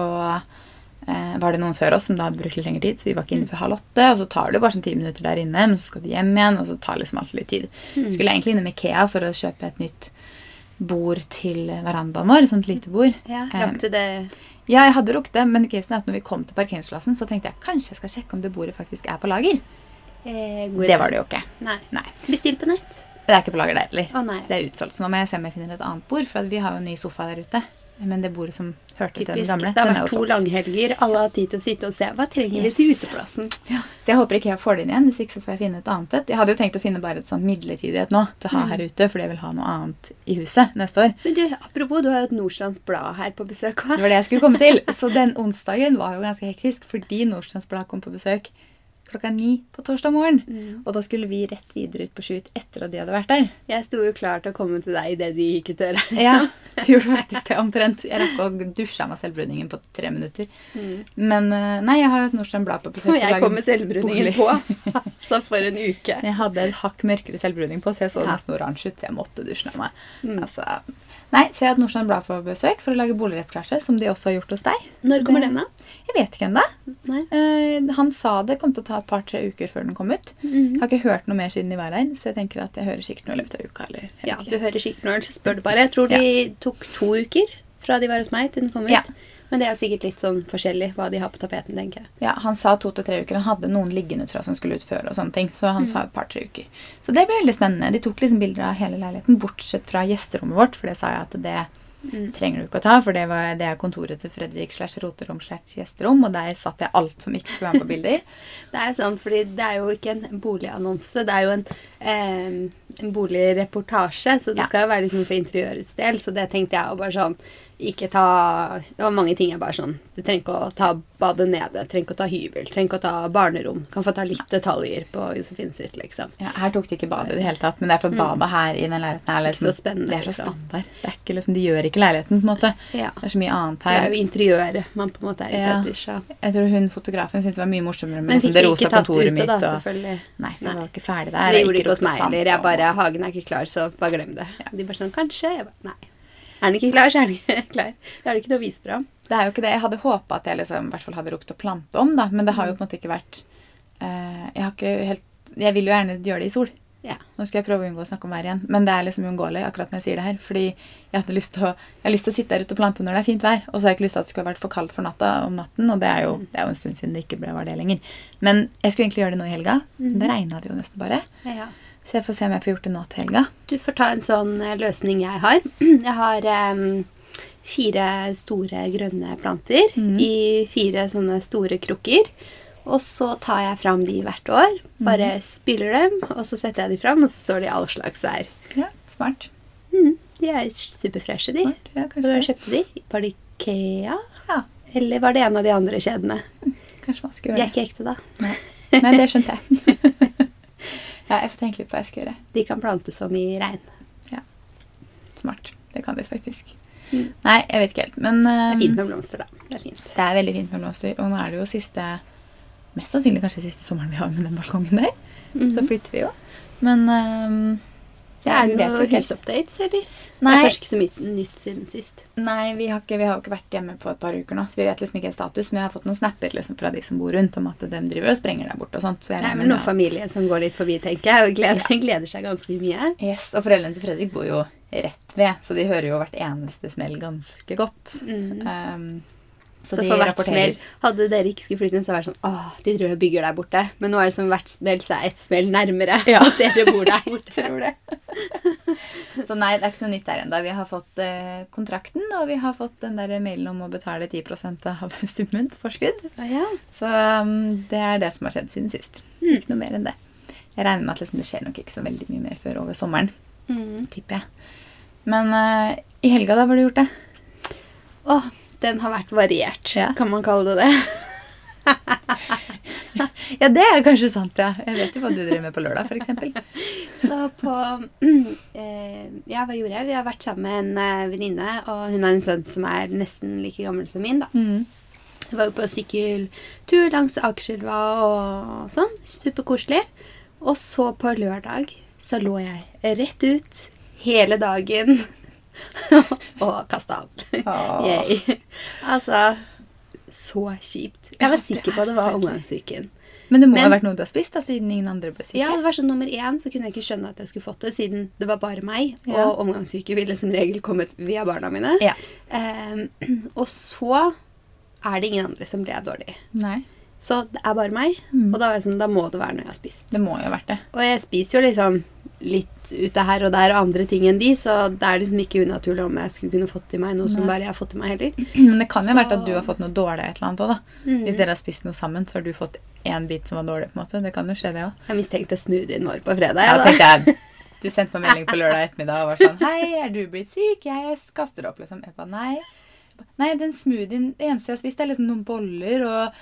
Speaker 2: eh, var det noen før oss som da brukte litt lengre tid, så vi var ikke inne før halv åtte. Og så tar det jo bare sånn ti minutter der inne, men så skal du hjem igjen, og så tar liksom alt litt tid. Skulle egentlig innom Ikea for å kjøpe et nytt bord til verandaen vår, et sånt lite bord.
Speaker 1: Ja,
Speaker 2: Eh,
Speaker 1: Rakk du det
Speaker 2: Ja, jeg hadde rukket det, men casen er at når vi kom til parkeringsplassen, så tenkte jeg kanskje jeg skal sjekke om det bordet faktisk er på lager.
Speaker 1: eh, god
Speaker 2: Det var det jo ikke.
Speaker 1: Nei.
Speaker 2: Nei.
Speaker 1: Bestill på nett.
Speaker 2: Det er ikke på lager der heller.
Speaker 1: Å nei.
Speaker 2: Det er utsolgt, så nå må jeg se om jeg finner et annet bord, for at vi har jo en ny sofa der ute. Men det bordet som hørte til
Speaker 1: Typisk.
Speaker 2: den
Speaker 1: Det
Speaker 2: gamle,
Speaker 1: har
Speaker 2: den er
Speaker 1: vært to
Speaker 2: jo solgt.
Speaker 1: langhelger. Alle har tid til å sitte og se. Hva trenger vi til
Speaker 2: Yes.
Speaker 1: uteplassen?
Speaker 2: Så jeg håper ikke jeg får det inn igjen. Hvis ikke så får jeg finne et annet et. Jeg hadde jo tenkt å finne bare et sånt midlertidighet nå til å
Speaker 1: Mm.
Speaker 2: ha her ute, fordi jeg vil ha noe annet i huset neste år.
Speaker 1: Men du, apropos, du har jo et Nordstrands Blad her på besøk
Speaker 2: Det
Speaker 1: òg.
Speaker 2: var det jeg skulle komme til. Så den onsdagen var jo ganske hektisk, fordi Nordstrands Blad kom på besøk klokka ni på torsdag morgen.
Speaker 1: Mm.
Speaker 2: Og da skulle vi rett videre ut på Sjut etter at de hadde vært der.
Speaker 1: Jeg sto jo klar til å komme til deg idet de gikk ut døra.
Speaker 2: Ja, du gjorde faktisk det omtrent. Jeg rakk å dusje av meg selvbrunningen på tre minutter. Men eh, nei, jeg har jo et Nordstrand Blad på besøk.
Speaker 1: Mm. Og
Speaker 2: og lager
Speaker 1: jeg kom med selvbruningen
Speaker 2: bolig.
Speaker 1: på. (laughs) Altså, for en uke.
Speaker 2: Jeg hadde et hakk mørkere selvbruning på, så jeg så
Speaker 1: Ja. Mm.
Speaker 2: nesten oransje ut. Så jeg måtte dusje av meg. Altså, nei, så jeg har hatt Nordstrand Blad på besøk for å lage boligreportasje, som de også har gjort hos deg.
Speaker 1: Når kommer den, da?
Speaker 2: Jeg vet ikke ennå.
Speaker 1: Nei.
Speaker 2: Eh, han sa det kom til å ta et par-tre uker før den kom ut. Jeg
Speaker 1: Mhm.
Speaker 2: har ikke hørt noe mer siden de var her, så jeg tenker at jeg hører sikkert noe i løpet av uka. eller jeg vet
Speaker 1: Ja,
Speaker 2: ikke.
Speaker 1: du hører Skikkenålen, så spør du bare. Jeg tror de tok to uker fra de var hos meg, til den kom ut.
Speaker 2: Ja.
Speaker 1: Men det er jo sikkert litt sånn forskjellig hva de har på tapeten, tenker jeg.
Speaker 2: Ja, han sa to til tre uker. Han hadde noen liggende tror jeg, som skulle ut før. og sånne ting, Så
Speaker 1: Mhm.
Speaker 2: han sa et par-tre uker. Så det ble veldig spennende. De tok liksom bilder av hele leiligheten, bortsett fra gjesterommet vårt. For det sa jeg at det
Speaker 1: Mhm.
Speaker 2: trenger du ikke å ta, for det, var, det er kontoret til Fredrik slash roterom slash gjesterom, og der satt jeg alt som ikke skulle være med på
Speaker 1: (laughs)
Speaker 2: bilder.
Speaker 1: Det er jo sånn, fordi det er jo ikke en boligannonse, det er jo en, eh, en boligreportasje, så det
Speaker 2: Ja.
Speaker 1: skal jo være liksom for interiørets del, så det tenkte jeg jo bare sånn, ikke ta, det var mange ting jeg bare sånn, du trenger ikke å ta badet nede, trenger ikke å ta hybel, trenger ikke å ta barnerom, kan få ta litt detaljer på Josefine sitt, liksom.
Speaker 2: Ja, her tok de ikke badet i det hele tatt, men det er for badet her i den leiligheten her, liksom,
Speaker 1: Mm. Ikke så spennende,
Speaker 2: det er så
Speaker 1: liksom.
Speaker 2: standard. Det er ikke, liksom, de gjør ikke leiligheten, på en måte.
Speaker 1: Ja.
Speaker 2: Det er så mye annet
Speaker 1: Det
Speaker 2: her.
Speaker 1: er jo interiøret man på en måte er ute
Speaker 2: Ja.
Speaker 1: etter, så.
Speaker 2: Jeg tror hun fotografen syntes det var mye morsommere med
Speaker 1: Men
Speaker 2: liksom,
Speaker 1: fikk
Speaker 2: det
Speaker 1: vi
Speaker 2: rosa
Speaker 1: ikke tatt
Speaker 2: kontoret
Speaker 1: ut det
Speaker 2: mitt.
Speaker 1: da,
Speaker 2: og-
Speaker 1: selvfølgelig.
Speaker 2: Nei, for
Speaker 1: Nei.
Speaker 2: jeg var ikke ferdig der.
Speaker 1: Det gjorde de ikke hos meg
Speaker 2: rotet
Speaker 1: heller. Jeg
Speaker 2: planter
Speaker 1: bare,
Speaker 2: og-
Speaker 1: Hagen er ikke klar, så bare glem det. De bare sånn, kanskje? Jeg bare, nei. Er den ikke klar, så er den ikke (laughs) klar. Da er det ikke noe å vise fram.
Speaker 2: Det er jo ikke det. Jeg hadde håpa at jeg liksom, i hvert fall hadde rukket å plante om, da. Men det
Speaker 1: Mm.
Speaker 2: har jo på en måte ikke vært eh, Jeg har ikke helt Jeg vil jo gjerne gjøre det i sol.
Speaker 1: Ja.
Speaker 2: Nå skal jeg prøve å unngå å snakke om vær igjen, men det er liksom uunngåelig akkurat når jeg sier det her. Fordi jeg hadde lyst til å Jeg har lyst til å sitte der ute og plante når det er fint vær. Og så har jeg ikke lyst til at det skulle vært for kaldt for natta om natten, og det er jo,
Speaker 1: Mm.
Speaker 2: det er jo en stund siden det ikke ble, var det lenger. Men jeg skulle egentlig gjøre det nå i helga. men
Speaker 1: Mhm.
Speaker 2: Det regna det jo nesten bare. Så jeg får se om jeg får gjort det nå til helga.
Speaker 1: Du får ta en sånn eh, løsning jeg har. (clears throat) Jeg har em, fire store grønne planter
Speaker 2: Mhm.
Speaker 1: i fire sånne store krukker. Og så tar jeg fram de hvert år, bare
Speaker 2: Mhm.
Speaker 1: spyler dem, og så setter jeg de fram, og så står de i all slags vær.
Speaker 2: Ja, smart.
Speaker 1: Mm, de er superfreshe, de.
Speaker 2: smart. Ja,
Speaker 1: Hvor
Speaker 2: kanskje,
Speaker 1: har du kjøpt de? Var det Ikea?
Speaker 2: Ja,
Speaker 1: Eller var det en av de andre kjedene?
Speaker 2: kanskje man skal
Speaker 1: De
Speaker 2: gjøre det.
Speaker 1: er ikke ekte, da.
Speaker 2: Nei, Nei det skjønte jeg. (laughs) ja, jeg får tenke litt på hva jeg skal gjøre.
Speaker 1: De kan plantes som i regn.
Speaker 2: Smart. Det kan de faktisk.
Speaker 1: Mm.
Speaker 2: Nei, jeg vet ikke helt, men
Speaker 1: Det er
Speaker 2: um,
Speaker 1: fint med blomster, da. Det er fint.
Speaker 2: det er veldig fint med blomster. Og nå er det jo siste Mest sannsynlig kanskje siste sommeren vi har med den balkongen der.
Speaker 1: Mhm.
Speaker 2: Så flytter vi jo. Men um, mhm. ja,
Speaker 1: er
Speaker 2: vi
Speaker 1: det
Speaker 2: vet jo
Speaker 1: noen
Speaker 2: ikke helt.
Speaker 1: husupdates, eller? Det er
Speaker 2: Nei,
Speaker 1: kanskje ikke så mye nytt siden sist.
Speaker 2: nei vi, har ikke, vi har jo ikke vært hjemme på et par uker nå, så vi vet liksom ikke status. Men jeg har fått noen snapper liksom, fra de som bor rundt, om at de driver og sprenger der borte og sånt. Så jeg
Speaker 1: Det er
Speaker 2: regner
Speaker 1: vel
Speaker 2: med
Speaker 1: noen
Speaker 2: at-
Speaker 1: familie som går litt forbi, tenker jeg, og gleder, gleder seg ganske mye.
Speaker 2: Yes, Og foreldrene til Fredrik bor jo rett ved, så de hører jo hvert eneste smell ganske godt.
Speaker 1: Mm.
Speaker 2: Um,
Speaker 1: Så,
Speaker 2: så, de
Speaker 1: for hvert
Speaker 2: rapporterer
Speaker 1: smell Hadde dere ikke skulle flytte inn, så hadde det vært sånn Åh, de driver og bygger der borte. Men nå er det som hvert smell så er ett smell nærmere
Speaker 2: Ja.
Speaker 1: (laughs) at dere bor
Speaker 2: (laughs)
Speaker 1: der borte.
Speaker 2: Tror det. så nei, det er ikke noe nytt der ennå. Vi har fått eh, kontrakten, og vi har fått den der mailen om å betale 10 av (laughs) summen på forskudd.
Speaker 1: Å, ja.
Speaker 2: Så um, det er det som har skjedd siden sist. Ikke noe mer enn det. Jeg regner med at liksom, det skjer nok ikke så veldig mye mer før over sommeren,
Speaker 1: mm.
Speaker 2: tipper jeg. Men eh, i helga, da, var du gjort det?
Speaker 1: Åh, Den har vært variert,
Speaker 2: Ja.
Speaker 1: kan man kalle det det.
Speaker 2: (laughs) Ja, det er kanskje sant, ja. Jeg vet jo hva du driver med på lørdag, (laughs) f.eks.
Speaker 1: Så på (clears throat) eh, Ja, hva gjorde jeg? Vi har vært sammen med en eh, venninne, og hun har en sønn som er nesten like gammel som min, da.
Speaker 2: Mm.
Speaker 1: Vi var jo på sykkeltur langs Akerselva og sånn. Superkoselig. Og så på lørdag så lå jeg rett ut hele dagen (laughs) og kasta av.
Speaker 2: Åh.
Speaker 1: Yay. Altså Så kjipt. Jeg
Speaker 2: Ja,
Speaker 1: var
Speaker 2: det
Speaker 1: sikker
Speaker 2: er
Speaker 1: på at det var
Speaker 2: forferdelig.
Speaker 1: omgangssyken.
Speaker 2: Men det må
Speaker 1: Men-
Speaker 2: ha vært noe du har spist, da, siden ingen andre ble syke.
Speaker 1: Ja, det var sånn nummer én, så kunne jeg ikke skjønne at jeg skulle fått det, siden det var bare meg,
Speaker 2: Ja.
Speaker 1: og omgangssyke ville som regel kommet via barna mine.
Speaker 2: Ja.
Speaker 1: Eh, (clears throat) og så er det ingen andre som ble dårlig.
Speaker 2: Nei,
Speaker 1: Så det er bare meg,
Speaker 2: Mm.
Speaker 1: og da var jeg sånn, da må det være noe jeg har spist.
Speaker 2: det må jo ha vært det.
Speaker 1: Og jeg spiser jo liksom litt ute her og der og andre ting enn de, så det er liksom ikke unaturlig om jeg skulle kunne fått i meg noe som
Speaker 2: Nei.
Speaker 1: bare jeg har fått i meg heller.
Speaker 2: (clears throat) Men det kan jo ha
Speaker 1: Så-
Speaker 2: vært at du har fått noe dårlig et eller annet også, da.
Speaker 1: Mm.
Speaker 2: Hvis dere har spist noe sammen, så har du fått én bit som var dårlig, på en måte. Det kan jo skje, det òg.
Speaker 1: Jeg mistenkte smoothien vår på fredag.
Speaker 2: Ja,
Speaker 1: jeg, da.
Speaker 2: tenkte jeg. Du sendte meg melding på lørdag ettermiddag og var
Speaker 1: (laughs)
Speaker 2: sånn Hei, er du blitt syk? Jeg kaster opp, liksom. Jeg ba nei. Jeg ba, Nei, den smoothien Det eneste jeg har spist, er liksom noen boller og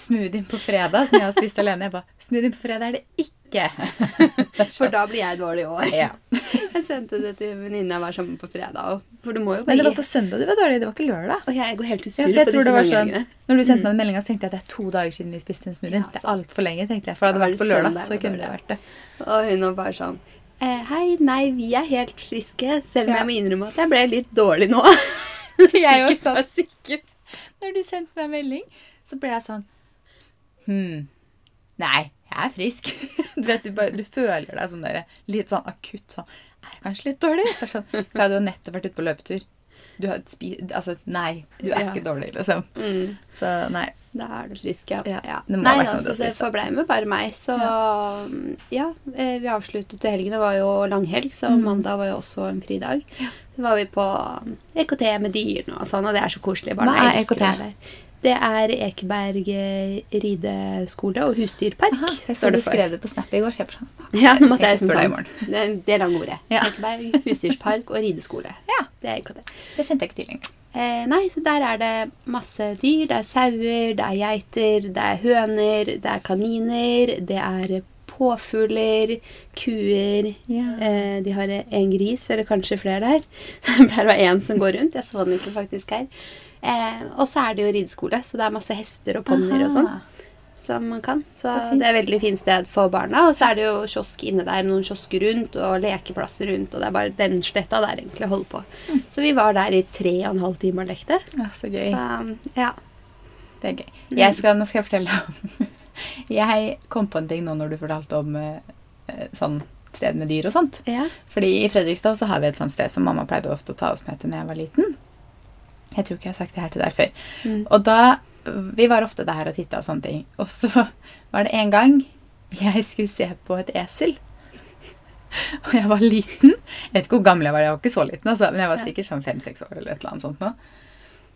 Speaker 2: smoothien på fredag som jeg har spist alene. Jeg ba Smoothien på fredag er det ikke. Det er
Speaker 1: For
Speaker 2: sånn.
Speaker 1: da blir jeg dårlig i år.
Speaker 2: Ja.
Speaker 1: (laughs) Jeg sendte det til venninna jeg var sammen med på fredag. og- For du må jo
Speaker 2: (laughs) Men det
Speaker 1: bare
Speaker 2: var på søndag du var dårlig. Det var ikke lørdag.
Speaker 1: Og jeg går helt til
Speaker 2: Ja,
Speaker 1: surr
Speaker 2: for jeg
Speaker 1: på
Speaker 2: tror det
Speaker 1: disse
Speaker 2: var sånn,
Speaker 1: meldingene.
Speaker 2: når du sendte meg den meldinga, tenkte jeg at det er to dager siden vi spiste en smoothie.
Speaker 1: Ja,
Speaker 2: det er
Speaker 1: sant.
Speaker 2: altfor lenge, tenkte jeg. For hadde det
Speaker 1: Da var
Speaker 2: vært på
Speaker 1: det
Speaker 2: lørdag,
Speaker 1: søndag
Speaker 2: så
Speaker 1: på
Speaker 2: kunne det
Speaker 1: lørdag.
Speaker 2: vært det.
Speaker 1: Og hun var bare sånn eh, Hei, nei, vi er helt friske, selv om
Speaker 2: Ja.
Speaker 1: jeg må innrømme at jeg ble litt dårlig nå.
Speaker 2: (laughs) Jeg var
Speaker 1: Sikkert var sikker.
Speaker 2: Når du sendte meg melding, så ble jeg sånn Hm. Nei, jeg er frisk. (laughs) Du vet, du, bare, du føler deg sånn der, litt sånn akutt sånn Er jeg kanskje litt dårlig? Så er det sånn, Klara, du har nettopp vært ute på løpetur. Du har spi... Altså, nei. Du er
Speaker 1: Ja.
Speaker 2: ikke dårlig, liksom.
Speaker 1: Mm,
Speaker 2: Så nei.
Speaker 1: da er du frisk, ja.
Speaker 2: Ja,
Speaker 1: ja.
Speaker 2: det må ha
Speaker 1: nei,
Speaker 2: vært
Speaker 1: da,
Speaker 2: noe du har
Speaker 1: så det
Speaker 2: spist, da.
Speaker 1: forblei med bare meg. Så ja, eh, vi avsluttet jo helgen. Det var jo langhelg, så
Speaker 2: Mm.
Speaker 1: mandag var jo også en fridag. Så var vi på um, EKT med dyrene og sånn, og det er så koselig. Barna
Speaker 2: Hva er E
Speaker 1: elsker
Speaker 2: EKT?
Speaker 1: det der. Det er Ekeberg eh, rideskole og husdyrpark.
Speaker 2: Aha, jeg så
Speaker 1: står
Speaker 2: du
Speaker 1: det for.
Speaker 2: skrev det på Snap i går. Så jeg ble sånn
Speaker 1: Ja, nå måtte (laughs) jeg
Speaker 2: Jeg
Speaker 1: liksom
Speaker 2: spør deg
Speaker 1: ta
Speaker 2: i
Speaker 1: den. Det, det lange ordet.
Speaker 2: Ja.
Speaker 1: Ekeberg, husdyrspark og rideskole.
Speaker 2: Ja.
Speaker 1: Det er IKT.
Speaker 2: Det kjente jeg ikke til engang.
Speaker 1: Eh, nei, så der er det masse dyr. Det er sauer, det er geiter, det er høner, det er kaniner, det er påfugler, kuer.
Speaker 2: Ja.
Speaker 1: Eh, de har en gris, eller kanskje flere der. (laughs) Det pleier å være én som går rundt. Jeg så den ikke faktisk her. Eh, og så er det jo rideskole, så det er masse hester og ponnier og sånn
Speaker 2: Aha.
Speaker 1: som man kan. Så,
Speaker 2: Så fint.
Speaker 1: det er et veldig fint sted for barna. Og så er det jo kiosk inne der, noen kiosker rundt, og lekeplasser rundt, og det er bare den sletta der egentlig å holde på. Så vi var der i tre og en halv time og lekte.
Speaker 2: Ja, så gøy.
Speaker 1: Um, ja.
Speaker 2: Det er gøy. Jeg skal, nå skal jeg fortelle om (laughs) Jeg kom på en ting nå når du fortalte om eh, eh, sånn sted med dyr og sånt.
Speaker 1: ja.
Speaker 2: Fordi i Fredrikstad så har vi et sånt sted som mamma pleide ofte å ta oss med til når jeg var liten. Jeg tror ikke jeg har sagt det her til deg før.
Speaker 1: Mm.
Speaker 2: Og da Vi var ofte der og titta og sånne ting. Og så var det en gang jeg skulle se på et esel. Og jeg var liten. Jeg vet ikke hvor gammel jeg var, jeg var ikke så liten, altså, men jeg var sikkert sånn fem-seks år eller et eller annet sånt nå.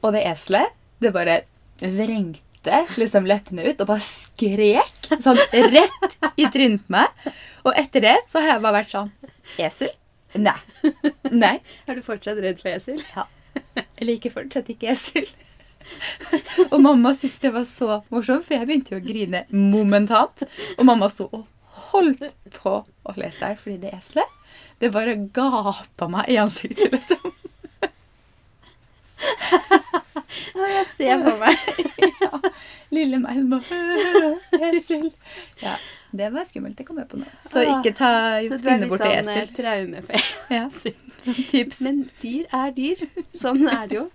Speaker 2: Og det eselet, det bare vrengte liksom leppene ut og bare skrek sånn rett i trynet på meg. Og etter det så har jeg bare vært sånn Esel? Nei. Nei.
Speaker 1: Er du fortsatt redd for esel? (laughs)
Speaker 2: Jeg liker fortsatt ikke esel. Og mamma syntes det var så morsomt, for jeg begynte jo å grine momentant. Og mamma sto og holdt på å le seg fordi det eselet Det bare gapa meg i ansiktet, liksom.
Speaker 1: Ja, jeg ser på meg.
Speaker 2: Lille meg som bare Esel. Ja, det var skummelt. Det kom jeg på nå. Så ikke ta
Speaker 1: Ah, Så (laughs) du er
Speaker 2: spinne
Speaker 1: litt
Speaker 2: bort til
Speaker 1: sånn eh,
Speaker 2: esel.
Speaker 1: traume for
Speaker 2: Ja.
Speaker 1: esel.
Speaker 2: Tips.
Speaker 1: Men dyr er dyr. Sånn er det jo.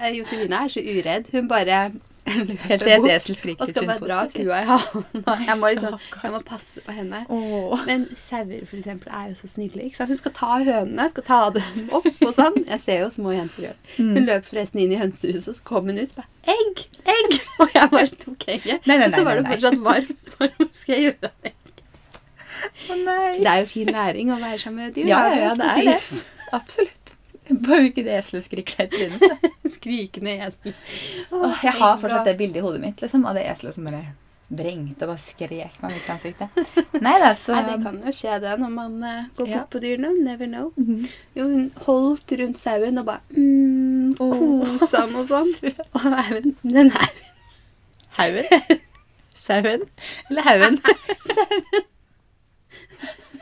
Speaker 1: Eh, Josefine er så uredd. Hun bare
Speaker 2: Helt til
Speaker 1: løper
Speaker 2: et
Speaker 1: bort
Speaker 2: esel skriker
Speaker 1: og skal
Speaker 2: rundt
Speaker 1: bare
Speaker 2: på
Speaker 1: dra
Speaker 2: oss, liksom.
Speaker 1: kua i halen. Jeg må liksom,
Speaker 2: Stakkar.
Speaker 1: jeg må passe på henne.
Speaker 2: Åh.
Speaker 1: Men sauer for eksempel, er jo så snille. Ikke sant? Hun skal ta hønene, skal ta dem opp og sånn. Jeg ser jo små jenter gjøre Hun
Speaker 2: Mm.
Speaker 1: løp forresten inn i hønsehuset, og så kom hun ut og bare 'Egg! Egg!' (laughs) Og jeg bare tok egget.
Speaker 2: Nei, nei,
Speaker 1: Og så
Speaker 2: nei,
Speaker 1: var
Speaker 2: nei,
Speaker 1: det
Speaker 2: nei.
Speaker 1: fortsatt varmt. (laughs) Hva skal jeg gjøre?
Speaker 2: Å nei.
Speaker 1: Det er jo fin læring å være sammen med dyr.
Speaker 2: Ja,
Speaker 1: da,
Speaker 2: ja,
Speaker 1: skal
Speaker 2: det er
Speaker 1: sies.
Speaker 2: det. Absolutt. Bare ikke det eselet skriker deg i trynet. (laughs)
Speaker 1: Skrikende esel.
Speaker 2: Åh, Jeg har fortsatt det bildet i hodet mitt liksom, av det eselet som bare vrengte og bare skrek meg midt i ansiktet. Nei da, så
Speaker 1: Nei, det kan jo skje det når man eh, går
Speaker 2: Ja.
Speaker 1: bort på dyrene. Never know.
Speaker 2: Mhm.
Speaker 1: Jo, hun holdt rundt sauen og bare mm,
Speaker 2: (laughs)
Speaker 1: kosa han og sånn. Og haugen, den her
Speaker 2: Haugen? (laughs) Sauen? Eller (laughs) haugen?
Speaker 1: (laughs)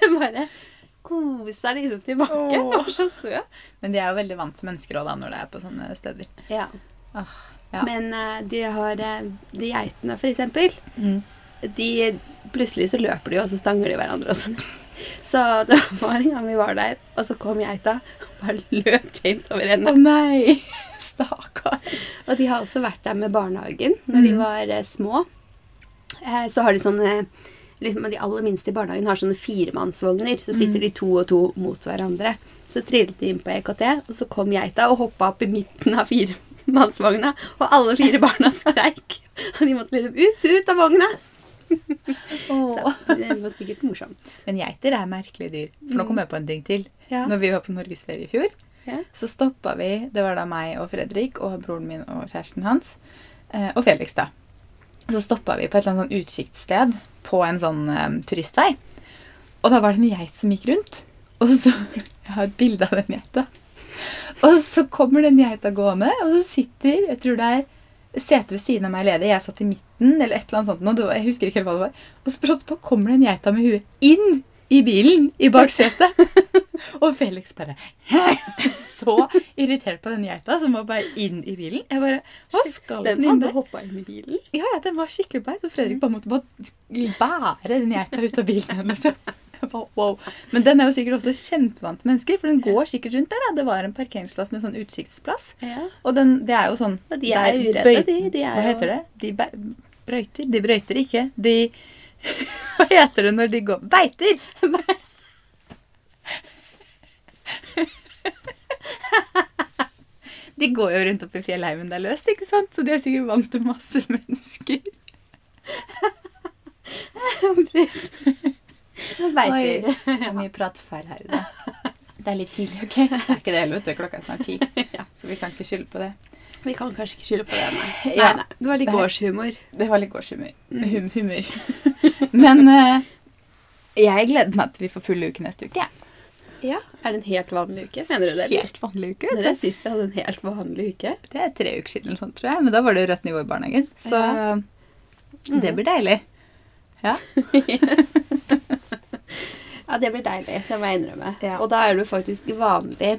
Speaker 1: den bare kosa liksom tilbake.
Speaker 2: Åh.
Speaker 1: Og så søt.
Speaker 2: Men de er jo veldig vant til mennesker også, da, når det er på sånne steder.
Speaker 1: Ja.
Speaker 2: Åh, ja.
Speaker 1: Men eh, de har eh, De geitene, for eksempel,
Speaker 2: Mhm.
Speaker 1: de Plutselig så løper de, og så stanger de hverandre og sånn. (laughs) Så det var en gang vi var der, og så kom geita, og bare løp James over
Speaker 2: Å
Speaker 1: ende.
Speaker 2: nei! (laughs) Stakkar.
Speaker 1: Og de har også vært der med barnehagen når de
Speaker 2: Mm.
Speaker 1: var eh, små. Eh, Så har de sånne liksom De aller minste i barnehagen har sånne firemannsvogner. Så sitter
Speaker 2: Mm.
Speaker 1: de to og to mot hverandre. Så trillet de inn på EKT, og så kom geita og hoppa opp i midten av firemannsvogna. Og alle fire barna skreik. (laughs) Og de måtte liksom ut, ut av vogna. Så
Speaker 2: Åh.
Speaker 1: det var sikkert morsomt.
Speaker 2: Men geiter er merkelige dyr. For nå kom jeg på en ting til.
Speaker 1: Ja.
Speaker 2: Når vi var på norgesferie i fjor,
Speaker 1: Ja.
Speaker 2: så stoppa vi Det var da meg og Fredrik og broren min og kjæresten hans. eh, Og Felix, da. Så stoppa vi på et eller annet sånn utkikkssted på en sånn eh, turistvei. Og da var det en geit som gikk rundt. Og så Jeg har et bilde av den geita. Og så kommer den geita gående, og så sitter Jeg tror det er setet ved siden av meg ledig. Jeg satt i midten, eller et eller annet sånt. nå, det var- Jeg husker ikke helt hva det var. Og så brått på kommer den geita med huet inn i bilen i baksetet. Og Felix bare Så irritert på den geita som var bare inn i bilen. Jeg bare Hva skal den,
Speaker 1: Den
Speaker 2: inn
Speaker 1: hadde
Speaker 2: der?
Speaker 1: hoppa inn i bilen.
Speaker 2: Ja, ja, den var skikkelig beist, så Fredrik bare måtte bare bære den geita ut av bilen. igjen, Liksom. Jeg bare, Wow. Men den er jo sikkert også kjempevant til mennesker, for den går sikkert rundt der. da. Det var en parkeringsplass med sånn utsiktsplass.
Speaker 1: (laughs) Ja.
Speaker 2: Og den, det er jo sånn
Speaker 1: Og de er
Speaker 2: det
Speaker 1: jo uredde,
Speaker 2: bøy-
Speaker 1: de. De er
Speaker 2: Hva
Speaker 1: jo-
Speaker 2: heter det? De bæ- brøyter. De brøyter ikke. De (laughs) Hva heter det når de går Beiter! (laughs) De går jo rundt oppe i fjellheimen det er løst, ikke sant? Så de er sikkert vant til masse (laughs) mennesker. Oi,
Speaker 1: Beiter.
Speaker 2: det er mye pratfeil her i dag. (laughs) Det er litt tidlig, OK? Det er ikke det heller, vet du. Klokka er (laughs) snart ti. Så vi kan ikke skylde på det.
Speaker 1: (laughs) Vi kan kanskje ikke skylde på det, nei. nei,
Speaker 2: Ja.
Speaker 1: nei. Det var litt
Speaker 2: Det-
Speaker 1: gårdshumor.
Speaker 2: Det var litt gårdshumor.
Speaker 1: Mm.
Speaker 2: Hum, humør. (laughs) Men eh, jeg gleder meg til vi får full uke neste uke. jeg.
Speaker 1: Ja. Er det en helt vanlig uke, mener du det? eller?
Speaker 2: Helt vanlig uke.
Speaker 1: Når
Speaker 2: vet
Speaker 1: er sist vi hadde en helt vanlig uke?
Speaker 2: du. Det er tre uker siden, eller sånn, tror jeg. Men da var det jo rødt nivå i barnehagen. Så
Speaker 1: Ja. Mm.
Speaker 2: det blir deilig. Ja.
Speaker 1: Ja, det blir deilig. Det må jeg innrømme.
Speaker 2: Ja.
Speaker 1: Og da er du faktisk vanlig.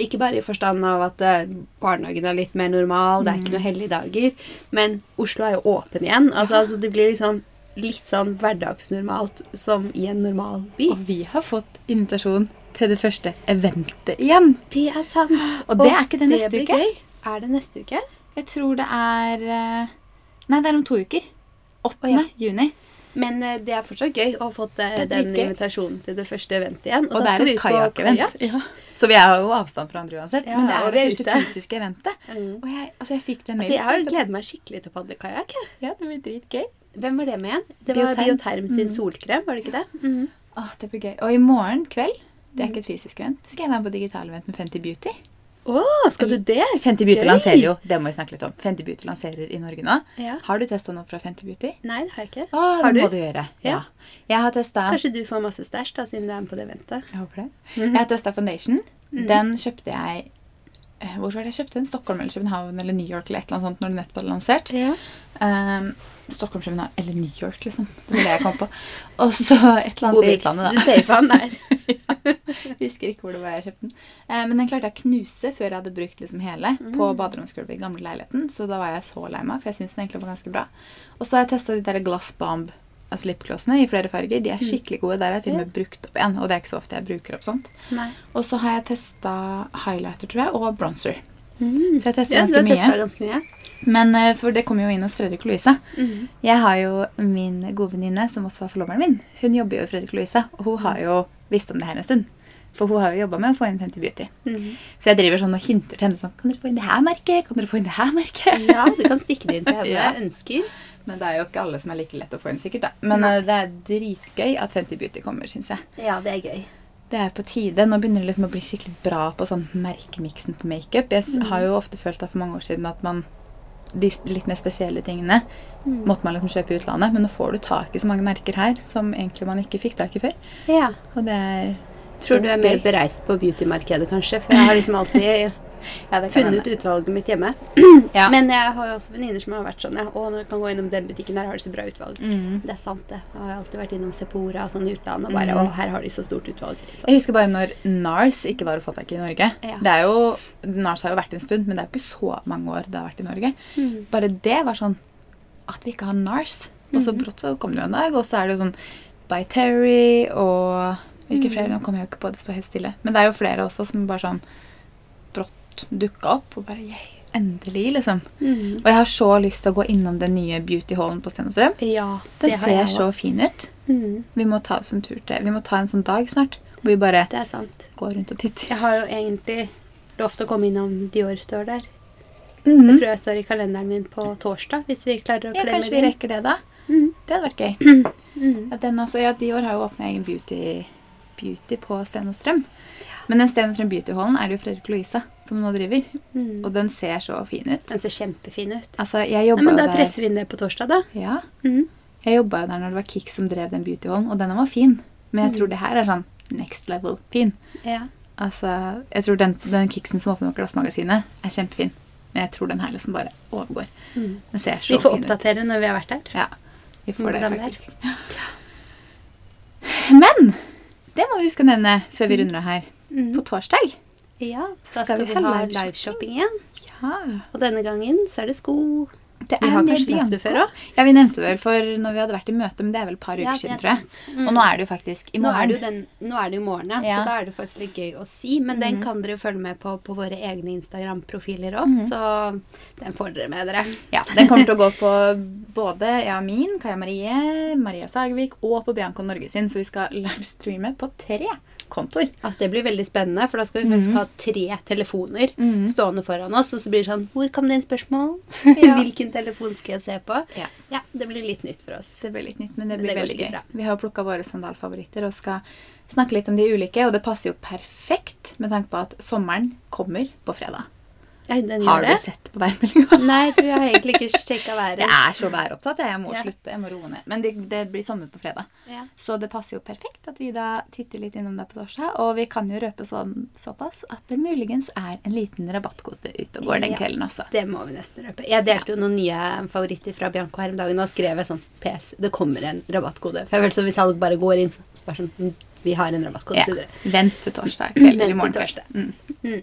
Speaker 1: Ikke bare i forstand av at eh, barnehagen er litt mer normal, det er
Speaker 2: Mm.
Speaker 1: ikke noen helligdager, men Oslo er jo åpen igjen. Altså, altså det blir liksom litt sånn hverdagsnormalt som i en normal by.
Speaker 2: Og vi har fått invitasjon til det første eventet igjen.
Speaker 1: Det er (gasps) sant.
Speaker 2: Og det er ikke det neste
Speaker 1: blir
Speaker 2: uke.
Speaker 1: Gøy. Er det neste uke?
Speaker 2: Jeg tror det er eh, Nei, det er om to uker. 8.
Speaker 1: Å, ja.
Speaker 2: juni.
Speaker 1: Men eh, det er fortsatt gøy å ha fått eh,
Speaker 2: Det er
Speaker 1: den
Speaker 2: dritgøy.
Speaker 1: invitasjonen til det første eventet igjen.
Speaker 2: Og, det er et kajakkevent. Ja. Så vi er jo avstand fra andre uansett.
Speaker 1: Ja,
Speaker 2: men det er
Speaker 1: og
Speaker 2: jo
Speaker 1: vi
Speaker 2: det
Speaker 1: er
Speaker 2: første
Speaker 1: ute.
Speaker 2: fysiske eventet.
Speaker 1: Mm.
Speaker 2: Og jeg, altså, jeg fikk den
Speaker 1: Altså, jeg
Speaker 2: mailen.
Speaker 1: har
Speaker 2: så-
Speaker 1: gleder meg skikkelig til å padle kajakk. jeg.
Speaker 2: Ja, det blir dritgøy.
Speaker 1: Hvem var det med igjen? Det var
Speaker 2: Bioterm.
Speaker 1: Bioterm, Mm. sin solkrem, var det ikke det?
Speaker 2: Åh, det blir gøy. Og i morgen kveld, det er ikke et fysisk event, skal jeg være med på digital event med Fenty Beauty.
Speaker 1: Å, skal du det?
Speaker 2: Fenty Beauty
Speaker 1: Gøy!
Speaker 2: lanserer jo, det må vi snakke litt om, Fenty Beauty lanserer i Norge nå.
Speaker 1: Ja.
Speaker 2: Har du testet noe fra Fenty Beauty?
Speaker 1: Nei, det har jeg ikke.
Speaker 2: Åh, det
Speaker 1: Har du?
Speaker 2: må du gjøre. Ja.
Speaker 1: Ja.
Speaker 2: Jeg har testet...
Speaker 1: Kanskje du får masse stæsj, da, siden du er med på det eventet.
Speaker 2: Jeg håper det. Mm. Jeg har testet foundation. Den kjøpte jeg... eh, Hvor var det jeg kjøpte den? Stockholm eller København eller New York eller et eller annet sånt når den nettopp hadde lansert.
Speaker 1: Ja.
Speaker 2: Um, Stockholm, København eller New York, liksom. Det var det jeg kom (laughs) på. Og så et eller annet sted i utlandet, da.
Speaker 1: Du ser for han der.
Speaker 2: Jeg husker ikke hvor det var jeg kjøpte den. Eh, men den klarte jeg å knuse før jeg hadde brukt liksom hele
Speaker 1: Mm.
Speaker 2: på baderomsgulvet i gamle leiligheten. Så da var jeg så lei meg, for jeg syns den egentlig var ganske bra. Og så har jeg testa de der Glass Bomb altså lipglossene i flere farger. De er
Speaker 1: Mm.
Speaker 2: skikkelig gode. Der har jeg til og med brukt opp en, og det er ikke så ofte jeg bruker opp sånt.
Speaker 1: (laughs) Nei.
Speaker 2: Og så har jeg testa highlighter, tror jeg, og bronzer. Så jeg tester
Speaker 1: Mm. Ja, du
Speaker 2: ganske
Speaker 1: har testa
Speaker 2: mye.
Speaker 1: ganske mye.
Speaker 2: Men eh, for det kommer jo inn hos Fredrik og Louise.
Speaker 1: Mhm.
Speaker 2: Jeg har jo min gode venninne, som også var forloveren min. Hun jobber jo i Fredrik og Louise, og hun
Speaker 1: Mm.
Speaker 2: har jo visst om det her en stund. For hun har jo jobba med å få inn Fenty Beauty.
Speaker 1: Mhm.
Speaker 2: Så jeg driver sånn og hinter til henne sånn Kan dere få inn det her merket? Kan dere få inn det her merket?
Speaker 1: Ja, du kan stikke det inn til henne
Speaker 2: (laughs) Ja.
Speaker 1: jeg ønsker.
Speaker 2: (laughs) Men det er jo ikke alle som er like lett å få inn, sikkert. da. Men
Speaker 1: Nei.
Speaker 2: eh, det er dritgøy at Fenty Beauty kommer, syns jeg.
Speaker 1: Ja, det er gøy.
Speaker 2: Det er på tide. Nå begynner det liksom å bli skikkelig bra på sånn merkemiksen på makeup. Jeg s-
Speaker 1: Mm.
Speaker 2: har jo ofte følt da for mange år siden at man de s- litt mer spesielle tingene
Speaker 1: Mm.
Speaker 2: måtte man liksom kjøpe i utlandet. Men nå får du tak i så mange merker her som egentlig man ikke fikk tak i før.
Speaker 1: Ja.
Speaker 2: Og det er
Speaker 1: (laughs) Tror du jeg er mer bereist på beautymarkedet, kanskje? For jeg har liksom alltid
Speaker 2: Ja, det kan
Speaker 1: funnet
Speaker 2: hende.
Speaker 1: ut utvalget mitt hjemme.
Speaker 2: Ja.
Speaker 1: Men jeg har jo også venninner som har vært sånn. Ja, å, nå kan jeg gå innom den butikken, her har de så bra utvalg.
Speaker 2: Mm.
Speaker 1: Det er sant, det. Jeg har alltid vært innom Sepora og sånn i utlandet og bare
Speaker 2: Mhm.
Speaker 1: Å, her har de så stort utvalg. liksom. Så.
Speaker 2: Jeg husker bare når NARS ikke var å få tak i i Norge.
Speaker 1: Ja.
Speaker 2: Det er jo, NARS har jo vært en stund, men det er jo ikke så mange år det har vært i Norge.
Speaker 1: Mm.
Speaker 2: Bare det var sånn At vi ikke har NARS. Og så
Speaker 1: Mhm.
Speaker 2: brått så kom det jo en dag, og så er det jo sånn By Terry og Hvilke
Speaker 1: Mhm.
Speaker 2: flere? Nå kommer jeg jo ikke på, det står helt stille. Men det er jo flere også som bare sånn brått dukka opp, og bare yeah, endelig, liksom.
Speaker 1: Mm.
Speaker 2: Og jeg har så lyst til å gå innom den nye Beauty Hallen på Stenstrøm.
Speaker 1: Ja,
Speaker 2: Den
Speaker 1: har jeg
Speaker 2: ser så fin ut.
Speaker 1: også. Mm.
Speaker 2: Vi må ta oss en tur til Vi må ta en sånn dag snart hvor vi bare
Speaker 1: Det er sant.
Speaker 2: går rundt og titter.
Speaker 1: Jeg har jo egentlig lovt å komme innom Dior står der.
Speaker 2: Mhm.
Speaker 1: Jeg tror jeg står i kalenderen min på torsdag, hvis vi klarer å
Speaker 2: Ja,
Speaker 1: klemme
Speaker 2: kanskje vi
Speaker 1: det inn.
Speaker 2: rekker det, da.
Speaker 1: Mm.
Speaker 2: Det hadde vært gøy.
Speaker 1: Mm.
Speaker 2: Ja, den også, ja, Dior har jo åpna egen beauty, beauty på Sten og Strøm. Men den Sten og Strøm Beauty-hallen er det jo Fredrik Louisa som nå driver.
Speaker 1: Mm.
Speaker 2: Og den ser så fin ut.
Speaker 1: Den ser kjempefin ut.
Speaker 2: Altså, jeg
Speaker 1: Nei,
Speaker 2: jobba
Speaker 1: men
Speaker 2: jo
Speaker 1: da
Speaker 2: der
Speaker 1: presser vi inn det på torsdag, da.
Speaker 2: Ja,
Speaker 1: Mm.
Speaker 2: jeg jobbet jo der når det var Kik som drev den beauty-hallen, og denne var fin. Men jeg tror det her er sånn next level fin.
Speaker 1: Ja.
Speaker 2: Altså, jeg tror den, den Kiksen som åpner opp Glassmagasinet, er kjempefin. Men jeg tror den her liksom bare overgår.
Speaker 1: Mm.
Speaker 2: Den ser så
Speaker 1: Vi får
Speaker 2: fin ut.
Speaker 1: oppdatere når vi har vært der.
Speaker 2: Ja, vi får det
Speaker 1: Hvordan det er.
Speaker 2: faktisk. Men det må vi huske å nevne før vi runder av her.
Speaker 1: Mm.
Speaker 2: På torsdag
Speaker 1: Ja, da
Speaker 2: Skal
Speaker 1: skal
Speaker 2: vi
Speaker 1: vi
Speaker 2: ha
Speaker 1: ha
Speaker 2: liveshopping?
Speaker 1: liveshopping igjen.
Speaker 2: Ja,
Speaker 1: Og denne gangen så er det sko.
Speaker 2: det
Speaker 1: Vi har
Speaker 2: med
Speaker 1: kanskje snakket
Speaker 2: Bianca.
Speaker 1: før òg.
Speaker 2: Ja, vi nevnte vel for når vi hadde vært i møte, men det er vel et par uker
Speaker 1: Ja, det er
Speaker 2: siden, tror jeg.
Speaker 1: Mm.
Speaker 2: Og nå er det jo faktisk i
Speaker 1: Nå er, det jo
Speaker 2: morgen.
Speaker 1: den, nå er det jo morgen, ja,
Speaker 2: Ja.
Speaker 1: så
Speaker 2: Mhm.
Speaker 1: da er det faktisk litt gøy å si. Men den kan dere jo følge med på på våre egne Instagram-profiler òg, så den får dere med dere.
Speaker 2: Mhm. Ja, den kommer
Speaker 1: (laughs)
Speaker 2: til å gå på både ja, min, Kaja Marie, Maria Sagvik og på Bianco Norge sin, så vi skal livestreame på tre kontoer.
Speaker 1: At det blir veldig spennende, for da skal vi faktisk ha tre telefoner
Speaker 2: Mhm.
Speaker 1: stående foran oss, og så blir det sånn Hvor kom det inn spørsmål?
Speaker 2: (laughs)
Speaker 1: (laughs)
Speaker 2: Ja.
Speaker 1: Hvilken telefon skal jeg se på?
Speaker 2: Ja.
Speaker 1: ja, det blir litt nytt for oss.
Speaker 2: Det blir litt nytt, men det
Speaker 1: Men det
Speaker 2: blir
Speaker 1: går
Speaker 2: veldig gøy.
Speaker 1: sikkert bra.
Speaker 2: Vi har plukka våre sandalfavoritter og skal snakke litt om de ulike. Og det passer jo perfekt med tanke på at sommeren kommer på fredag.
Speaker 1: Nei, den
Speaker 2: Har
Speaker 1: gjør
Speaker 2: du
Speaker 1: det.
Speaker 2: sett på værmeldinga? (laughs)
Speaker 1: Nei, du har egentlig ikke sjekka været.
Speaker 2: Jeg er så væropptatt. Jeg Jeg må
Speaker 1: Ja.
Speaker 2: slutte. Jeg må roe ned. Men det, det blir sommer på fredag.
Speaker 1: Ja.
Speaker 2: Så det passer jo perfekt at vi da titter litt innom deg på torsdag. Og vi kan jo røpe sånn, såpass at det muligens er en liten rabattkode ute og går den
Speaker 1: Ja.
Speaker 2: kvelden også.
Speaker 1: Det må vi nesten røpe. Jeg delte jo noen nye favoritter fra Bianco her om dagen. Og da skrev jeg sånn PS, det kommer en rabattkode. For jeg følte som hvis alle bare går inn og spør sånn «Mm, Vi har en rabattkode
Speaker 2: Ja.
Speaker 1: til dere.
Speaker 2: Vent til torsdag kveld
Speaker 1: Vent
Speaker 2: eller
Speaker 1: til
Speaker 2: i morgen kveld.
Speaker 1: torsdag.
Speaker 2: Mm.
Speaker 1: Mm.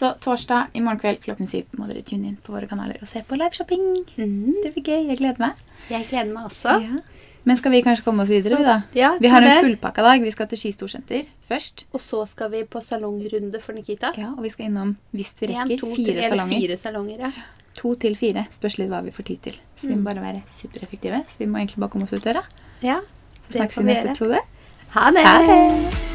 Speaker 2: Så torsdag i morgen kveld klokken syv må dere tune inn på våre kanaler og se på liveshopping.
Speaker 1: Mhm.
Speaker 2: Det blir gøy. Jeg gleder meg.
Speaker 1: Jeg gleder meg også.
Speaker 2: Ja. Men skal vi kanskje komme oss videre, vi da?
Speaker 1: Ja, jeg
Speaker 2: Vi har
Speaker 1: tror
Speaker 2: en
Speaker 1: det.
Speaker 2: fullpakka dag. Vi skal til Ski Storsenter først.
Speaker 1: Og så skal vi på salongrunde for Nikita.
Speaker 2: Ja, og vi skal innom, hvis vi rekker,
Speaker 1: En, to, tre,
Speaker 2: fire
Speaker 1: eller
Speaker 2: salonger.
Speaker 1: Fire salonger ja.
Speaker 2: To til fire. Spørs litt hva vi får tid til. Så
Speaker 1: Mm.
Speaker 2: vi må bare være supereffektive. Så vi må egentlig bare komme oss ut døra.
Speaker 1: ja.
Speaker 2: Snakkes i neste episode.
Speaker 1: Ha det.
Speaker 2: Ha det!